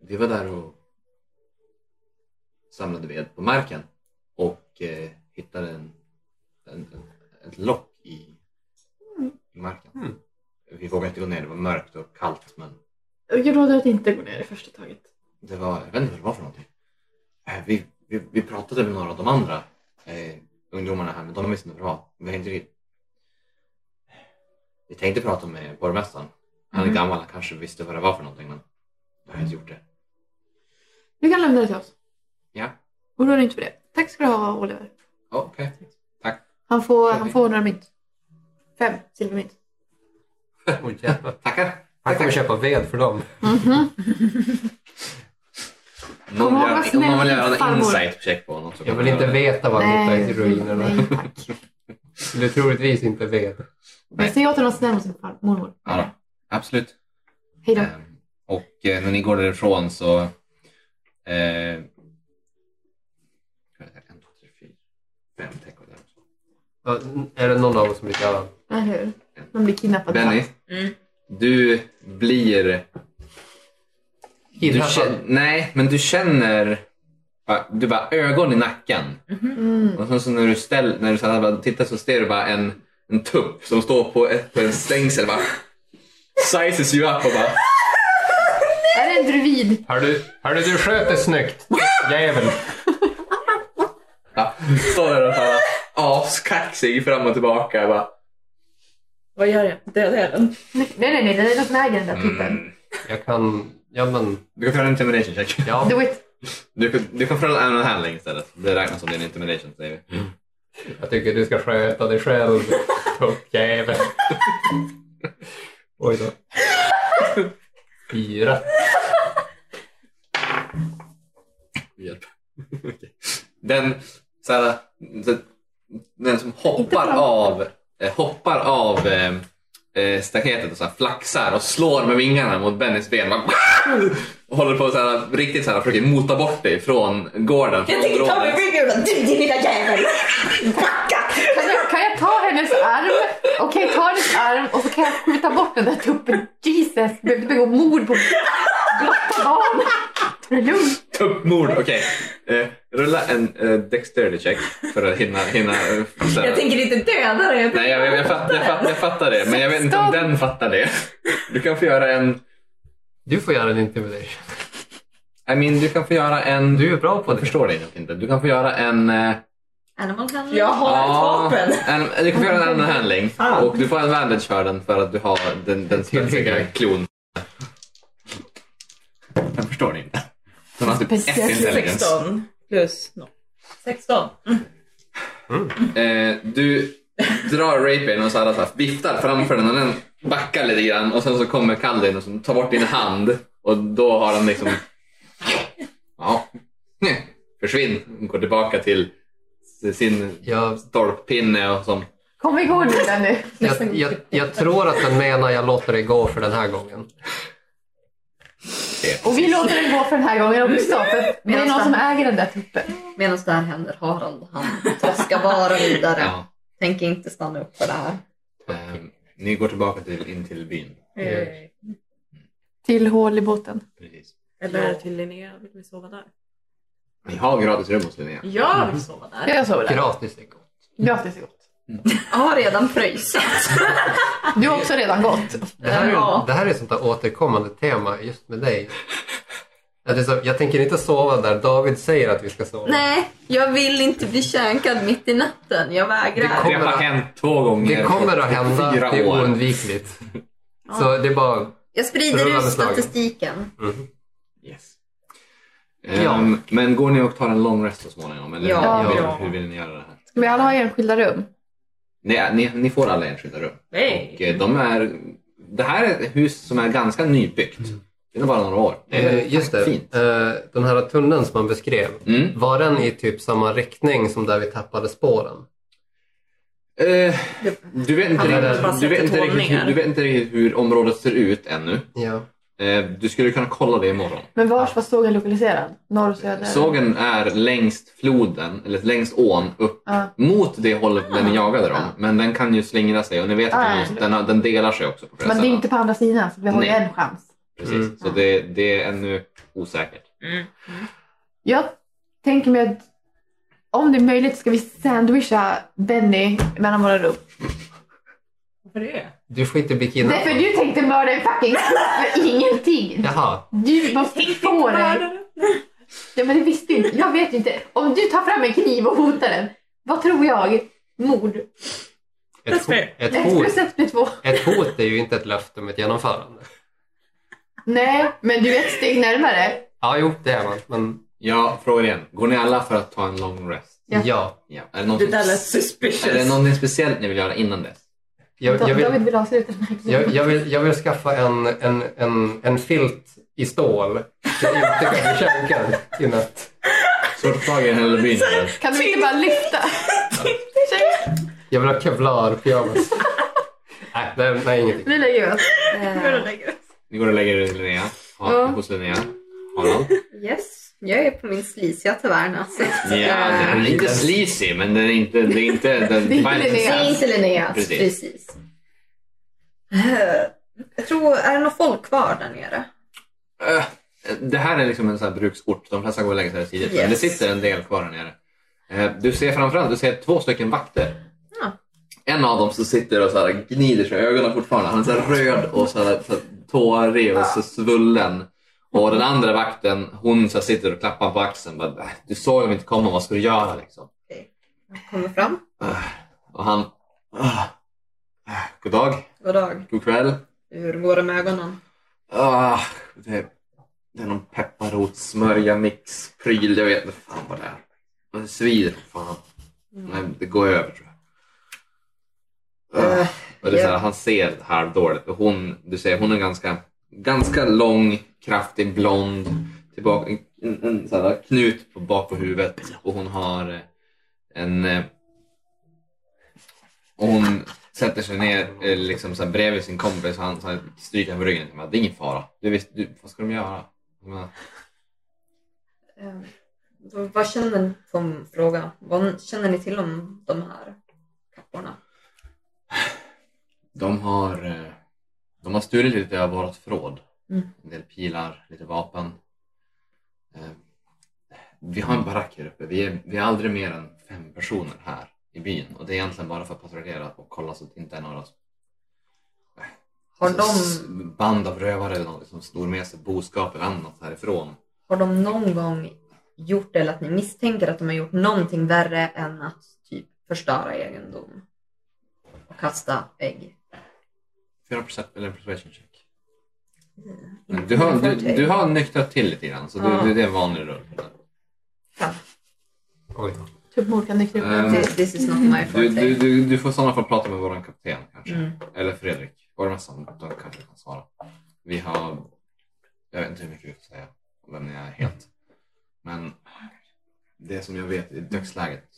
S2: vi var där och samlade ved på marken och eh, hittade en, en, en, ett lock i, i marken.
S3: Mm.
S2: Vi vågade inte gå ner, det var mörkt och kallt men
S1: Jag råder att inte gå ner i första taget.
S2: det var, jag vet inte vad det var för någonting. Eh, Vi, vi, vi pratade med några av de andra eh, ungdomarna här, men de visste inte vad det var. Vi, har inte riktigt- vi tänkte prata med borgmästaren. Han är
S1: Mhm.
S2: gammal, han kanske visste vad det var för någonting, men jag har inte gjort det.
S1: Du kan lämna det till oss.
S2: Ja,
S1: Oroa dig inte för det. Tack ska du ha, Oliver.
S2: okej. Tack.
S1: Han får,
S2: Okej.
S1: han får några mynt. Fem silvermynt.
S3: Åh, jävlar.
S2: Tackar.
S3: Han kommer köpa ved för dem.
S2: Mm-hmm.
S1: Mhm.
S2: Någon
S1: Åh, vad
S2: vill, göra-
S1: snäll
S2: någon vill göra en
S1: farmor.
S2: insight check på honom. så
S3: Jag
S2: kan
S3: vill
S2: jag
S3: inte
S2: göra det.
S3: veta vad han hittar i ruinerna.
S1: nej tack.
S3: Det är troligtvis inte ved.
S1: Men säg åt honom att snäll mot sin far- mormor.
S2: Ja, då. absolut.
S1: Hej då.
S2: Ehm, Och eh, när ni går därifrån så... Eh, en, två, tre, fyra, fem täckor där också.
S3: Ja, Är det någon av oss som inte har...
S1: Eller hur? De blir kidnappade.
S2: Benny,
S5: Mm.
S2: du blir... Du känner, nej, men du känner... ja, Du bara ögon i nacken.
S1: Mm.
S2: Och sen så när du, ställ, när du så här bara tittar så ser du bara en, en tupp som står på, ett, på en stängsel. Bara, sizes you up och bara...
S1: Är det en druid?
S3: Hördu, hördu, du sköt det snyggt. Jävel.
S2: Ja, står där och bara askaxig fram och tillbaka. Bara,
S4: Vad gör jag? Dödar jag den?
S1: Nej, nej, nej. Det är något med den där tuppen.
S2: mm.
S3: Jag kan... Ja, men...
S2: Du kan få en intimidation check.
S3: Ja.
S1: Do it.
S2: Du, kan- du kan få en annan handling istället. Det räknas som din intimidation säger vi.
S3: Jag tycker du ska sköta dig själv. Tuppjävel. Oj då. Fyra.
S2: Hjälp. Okej. Den, så här, så- den som hoppar av, eh, hoppar av eh, eh, staketet och så här, flaxar och slår med vingarna mot Bennys ben. Man, och håller på att så här, riktigt så här, försöker mota bort dig från gården. Från
S5: Jag tänker ta mig
S2: området.
S5: ryggen och bara, du din lilla jävel! Backa!
S1: Kan jag, kan jag ta hennes arm? Okej, ta hennes arm och så kan jag skjuta bort den där tuppen. Jesus, du behöver inte begå mord på blotta barn. Ta det lugnt.
S2: Tuppmord, okej. Eh, rulla en eh, dexterity check för att hinna... hinna eh, så här-
S5: Jag tänker inte döda dig.
S2: Nej, jag, jag, jag, fatt, jag, fatt, jag fattar det, men jag vet inte om den fattar det. Du kan få göra en...
S3: Du får göra en intimidation.
S2: I mean, du kan få göra en...
S3: Du är bra på
S2: Jag
S3: det.
S2: förstår dig nog inte. Du kan få göra en... eh,
S5: Animal handling.
S4: Jag har
S2: ja,
S4: ett vapen.
S2: en du kan få göra en annan handling.
S4: Fan.
S2: Och du får en bandage för den för att du har den, den svenska
S3: Tydligen.
S2: klon. Jag förstår dig inte. Den har typ ett
S1: Speciellt
S2: intelligens.
S4: 16 plus no. 16.
S2: Eh, du drar rapen och så alla så här viftar framför den och den backar lite grann och sen så kommer Kaldin och så tar bort din hand och då har han liksom... Ja. För försvinn. Hon går tillbaka till sin
S3: Jag,
S2: stolppinne och som...
S1: Kom igång nu Lenny.
S3: jag, jag, jag tror att den menar jag låter det gå för den här gången.
S1: Och vi låter den gå för den här gången också. För det är någon som äger den där tuppen.
S5: Medan det här händer, Harald, han traskar bara vidare.
S2: Ja.
S5: Tänk inte stanna upp för det här.
S2: Ehm, ni går tillbaka till, in till byn.
S3: Eh,
S1: Till hål i båten.
S2: Precis.
S4: Eller till Linnea, vill vi sova där?
S2: Ni har gratis rum hos Linnea.
S4: Jag vill sova där.
S1: Jag sover där.
S3: Gratis är gott.
S1: Gratis är gott.
S5: Jag har redan pröjsat.
S1: Du har också redan gått.
S3: Det här, är,
S5: Ja.
S3: det här är ett sånt där återkommande tema just med dig. Att det är så, jag tänker inte sova där David säger att vi ska sova.
S5: Nej, jag vill inte bli känkad mitt i natten. Jag vägrar.
S3: Det
S2: Det har
S3: kommer-
S2: hänt två gånger
S3: Det kommer
S2: på
S3: att hända, det
S2: fyra
S3: är
S2: år.
S3: oundvikligt. Så det är bara...
S5: Jag sprider
S3: Rulla
S5: ut
S3: med slagen.
S5: statistiken.
S3: Mm.
S2: Yes. Ehm, Men går ni och tar en lång rest så småningom? Eller
S5: Ja.
S2: hur-
S4: Ja.
S2: Hur vill ni göra det här?
S1: Ska vi alla ha enskilda rum?
S2: Nej, ni, ni får alla enskilda rum. Och
S4: Nej.
S2: eh, de är, det här är ett hus som är ganska nybyggt. Det är nog bara några år. Det är
S3: Mm. Eh, Just det,
S2: Fint.
S3: Eh, den här tunneln som man beskrev.
S2: Mm.
S3: Var den i typ samma riktning som där vi tappade spåren?
S2: Eh, du vet inte,
S4: Han har bara
S2: riktigt,
S4: sett
S2: du vet
S4: ett
S2: inte, riktigt, hur-
S4: våningar.
S2: du vet inte riktigt hur området ser ut ännu.
S3: Ja.
S2: Eh, du skulle kunna kolla det imorgon.
S1: Men vars var sågen lokaliserad? Norr, söder?
S2: Sågen är längst floden, eller längst ån upp
S1: Ja.
S2: mot det hållet där ni jagade dem.
S1: Ah.
S2: Men den kan ju slingra sig och ni vet
S1: Ah.
S2: att den, den, har- den delar sig också på
S1: Men det är
S2: fräsen.
S1: inte på andra sidan så vi har ju
S2: Nej.
S1: en chans.
S2: Precis.
S3: Mm.
S2: Så det, det är ännu osäkert.
S1: Jag tänker mig att om det är möjligt ska vi sandwicha Benny mellan våra rum.
S4: Varför det?
S3: Du får inte bli kidnappad.
S1: Därför du tänkte mörda en fucking kille för ingenting.
S3: Jaha.
S1: Du måste få den. Ja, men det visste ju inte. Jag vet ju inte. Om du tar fram en kniv och hotar den, vad tror jag? Mord.
S3: Ett, ho-
S4: Röstfri.
S3: ett,
S1: Ett plus
S3: hot,
S1: ett blir två.
S3: ett hot är ju inte ett löfte om ett genomförande.
S1: Nej, men du är ett steg närmare.
S3: Ja, jo, det är man. Men
S2: Jag frågar igen. Går ni alla för att ta en lång rest?
S1: Ja.
S3: ja.
S2: Ja. Är, det någon
S4: Det där
S2: som,
S4: lät suspicious.
S2: är det någonting speciellt ni vill göra innan dess?
S3: Jag, jag,
S1: David
S3: vill,
S1: vill avsluta den här kniven.
S3: jag, jag, vill, jag vill skaffa en, en, en, en filt i stål så jag inte kan bli känkad i natt.
S2: Svårt att få tag i den här byn. eller?
S1: Kan du inte bara lyfta?
S3: Jag vill ha kevlar-pyjamas. nej, nej, nej, ingenting.
S1: Nu lägger vi oss.
S5: Eh,
S2: Ni går och lägger er i Linnea. Ha,
S5: Ja.
S2: Hos Linnea. Harald.
S5: Eh, yes, jag är på min slisiga taverna. Alltså.
S2: Ja, den är inte sleazy, men den är inte... Det är inte, den,
S1: Det är inte Linnea.
S5: Det är inte Linneas,
S2: Precis.
S5: precis. Eh, Jag tror, är det något folk kvar där nere?
S2: Äh, Det här är liksom en sån här bruksort. De flesta går och lägger sig här tidigt. Men det
S5: Yes.
S2: sitter en del kvar här nere. Eh, Du ser framförallt du ser två stycken vakter.
S5: Ja.
S2: En av dem som sitter och så här gnider sig i ögonen fortfarande. Han är så här röd och så här, så här tårig och så svullen. Och den andra vakten hon så här sitter och klappar på axeln. Bara, "Äh, du såg dem inte komma, vad ska du göra? Liksom.
S5: Kommer fram.
S2: Och han... "Ah, ah, God dag,
S5: God dag.
S2: god kväll.
S5: Hur går det med ögonen?
S2: Ah, det, det är någon pepparrotssmörja mix pryl. Jag vet inte fan vad det är. Men det svider som fan.
S5: Mm.
S2: Men det går över tror jag. Ah,
S5: Eh,
S2: och det är så här,
S5: ja.
S2: han ser halvdåligt. Och hon, du ser, hon är ganska, ganska lång, kraftig, blond. Tillbaka, en, en, en så här knut på, bak på huvudet. Och hon har eh, en... eh, Och hon sätter sig ner eh, liksom så här bredvid sin kompis och han så här stryker henne på ryggen. Jag Bara, det är ingen fara. Du, visst, du, vad ska de göra? Jag Bara,
S5: Eh, vad- Vad känner ni, som fråga, vad känner ni till om de här kapporna?
S2: de, har, eh, de har stulit lite av vårt förråd.
S5: Mm.
S2: En del pilar, lite vapen. Eh, Vi har en barack här uppe. Vi är, vi är aldrig mer än fem personer här i byn. Och det är egentligen bara för att patrullera och kolla så att det inte är några
S5: Har
S2: alltså, s-
S5: de,
S2: band av rövare eller något som snor med sig boskap eller annat härifrån.
S5: har de någon gång gjort det eller att ni misstänker att de har gjort någonting värre än att typ förstöra egendom? Och kasta ägg?
S2: Fyra percent eller persuasion check.
S5: Inte
S2: Du har,
S5: mina
S2: du,
S5: förteg.
S2: du har nyktrat till lite grann så
S5: Ja.
S2: du, det är en vanlig rull. på den.
S3: Oj.
S1: Typ mord kan nyktra upp
S2: Ehm,
S1: den.
S5: This, this is not my
S2: Du, du,
S5: forte.
S2: du, du får i sådana fall prata med vår kapten kanske.
S5: Mm.
S2: Eller Fredrik. Var det mest som de kanske kan svara. Vi har... Jag vet inte hur mycket vi får säga om vem ni är helt. Men det som jag vet i dödsläget.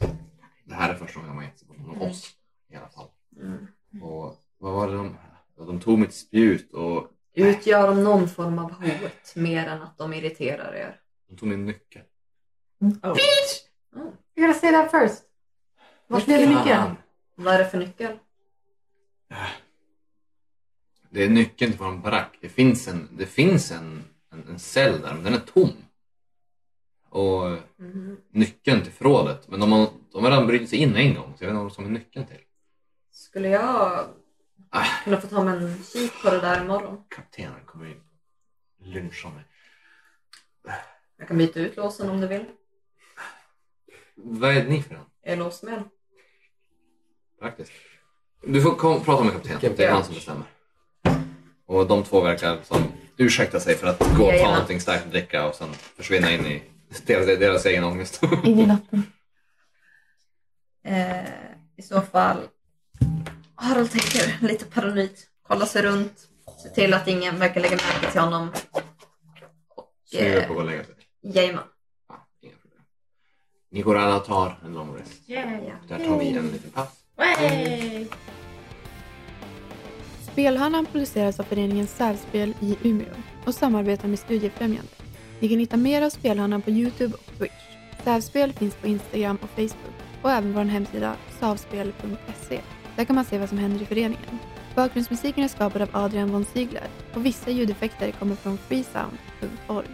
S2: Det här är första gången man gett sig på någon av oss i alla fall.
S5: Mm.
S2: Och vad var det de... De tog mitt spjut och
S5: Utgör de någon form av hot mer än att de irriterar er?
S2: de tog min nyckel.
S1: You gotta say that first. Vad blev det nyckeln?
S2: Fan.
S5: Vad är det för nyckel?
S2: Det är nyckeln till vår barack. Det finns en, det finns en, en, en cell där, men den är tom. Och
S5: Mhm.
S2: nyckeln till förrådet. Men de har, de har redan brutit sig in en gång, så jag vet inte vad som är nyckeln till.
S5: Skulle jag
S2: Ah.
S5: kunna få ta mig en kik på det där imorgon?
S2: Kaptenen kommer in lyncha mig.
S5: Jag kan byta ut låsen om du vill.
S2: Vad är ni för en?
S5: Jag är låsmed.
S2: Faktiskt. Du får kom, prata med kaptenen. Det är han som bestämmer. Och de två verkar som ursäkta sig för att gå och ta
S5: Jajamän.
S2: någonting starkt att dricka och sen försvinna in i deras, deras egen ångest.
S1: In i natten.
S5: Eh, I så fall... Harald tänker lite paranoid. Kolla sig runt. Se till att ingen verkar lägga märke till honom. Och,
S2: Så nu är jag
S5: eh,
S2: på att lägga sig.
S5: jajamän.
S2: Ja, Ah, inga problem. Ni går alla och tar en lång rest.
S4: Yeah.
S2: Där tar vi en liten paus.
S4: Way.
S6: Spelhörnan produceras av föreningen Särspel i Umeå och samarbetar med Studiefrämjandet. Ni kan hitta mer av Spelhörnan på Youtube och Twitch. Särspel finns på Instagram och Facebook och även vår hemsida savspel.se. Där kan man se vad som händer i föreningen. Bakgrundsmusiken är skapad av Adrian von Ziegler och vissa ljudeffekter kommer från freesound.org.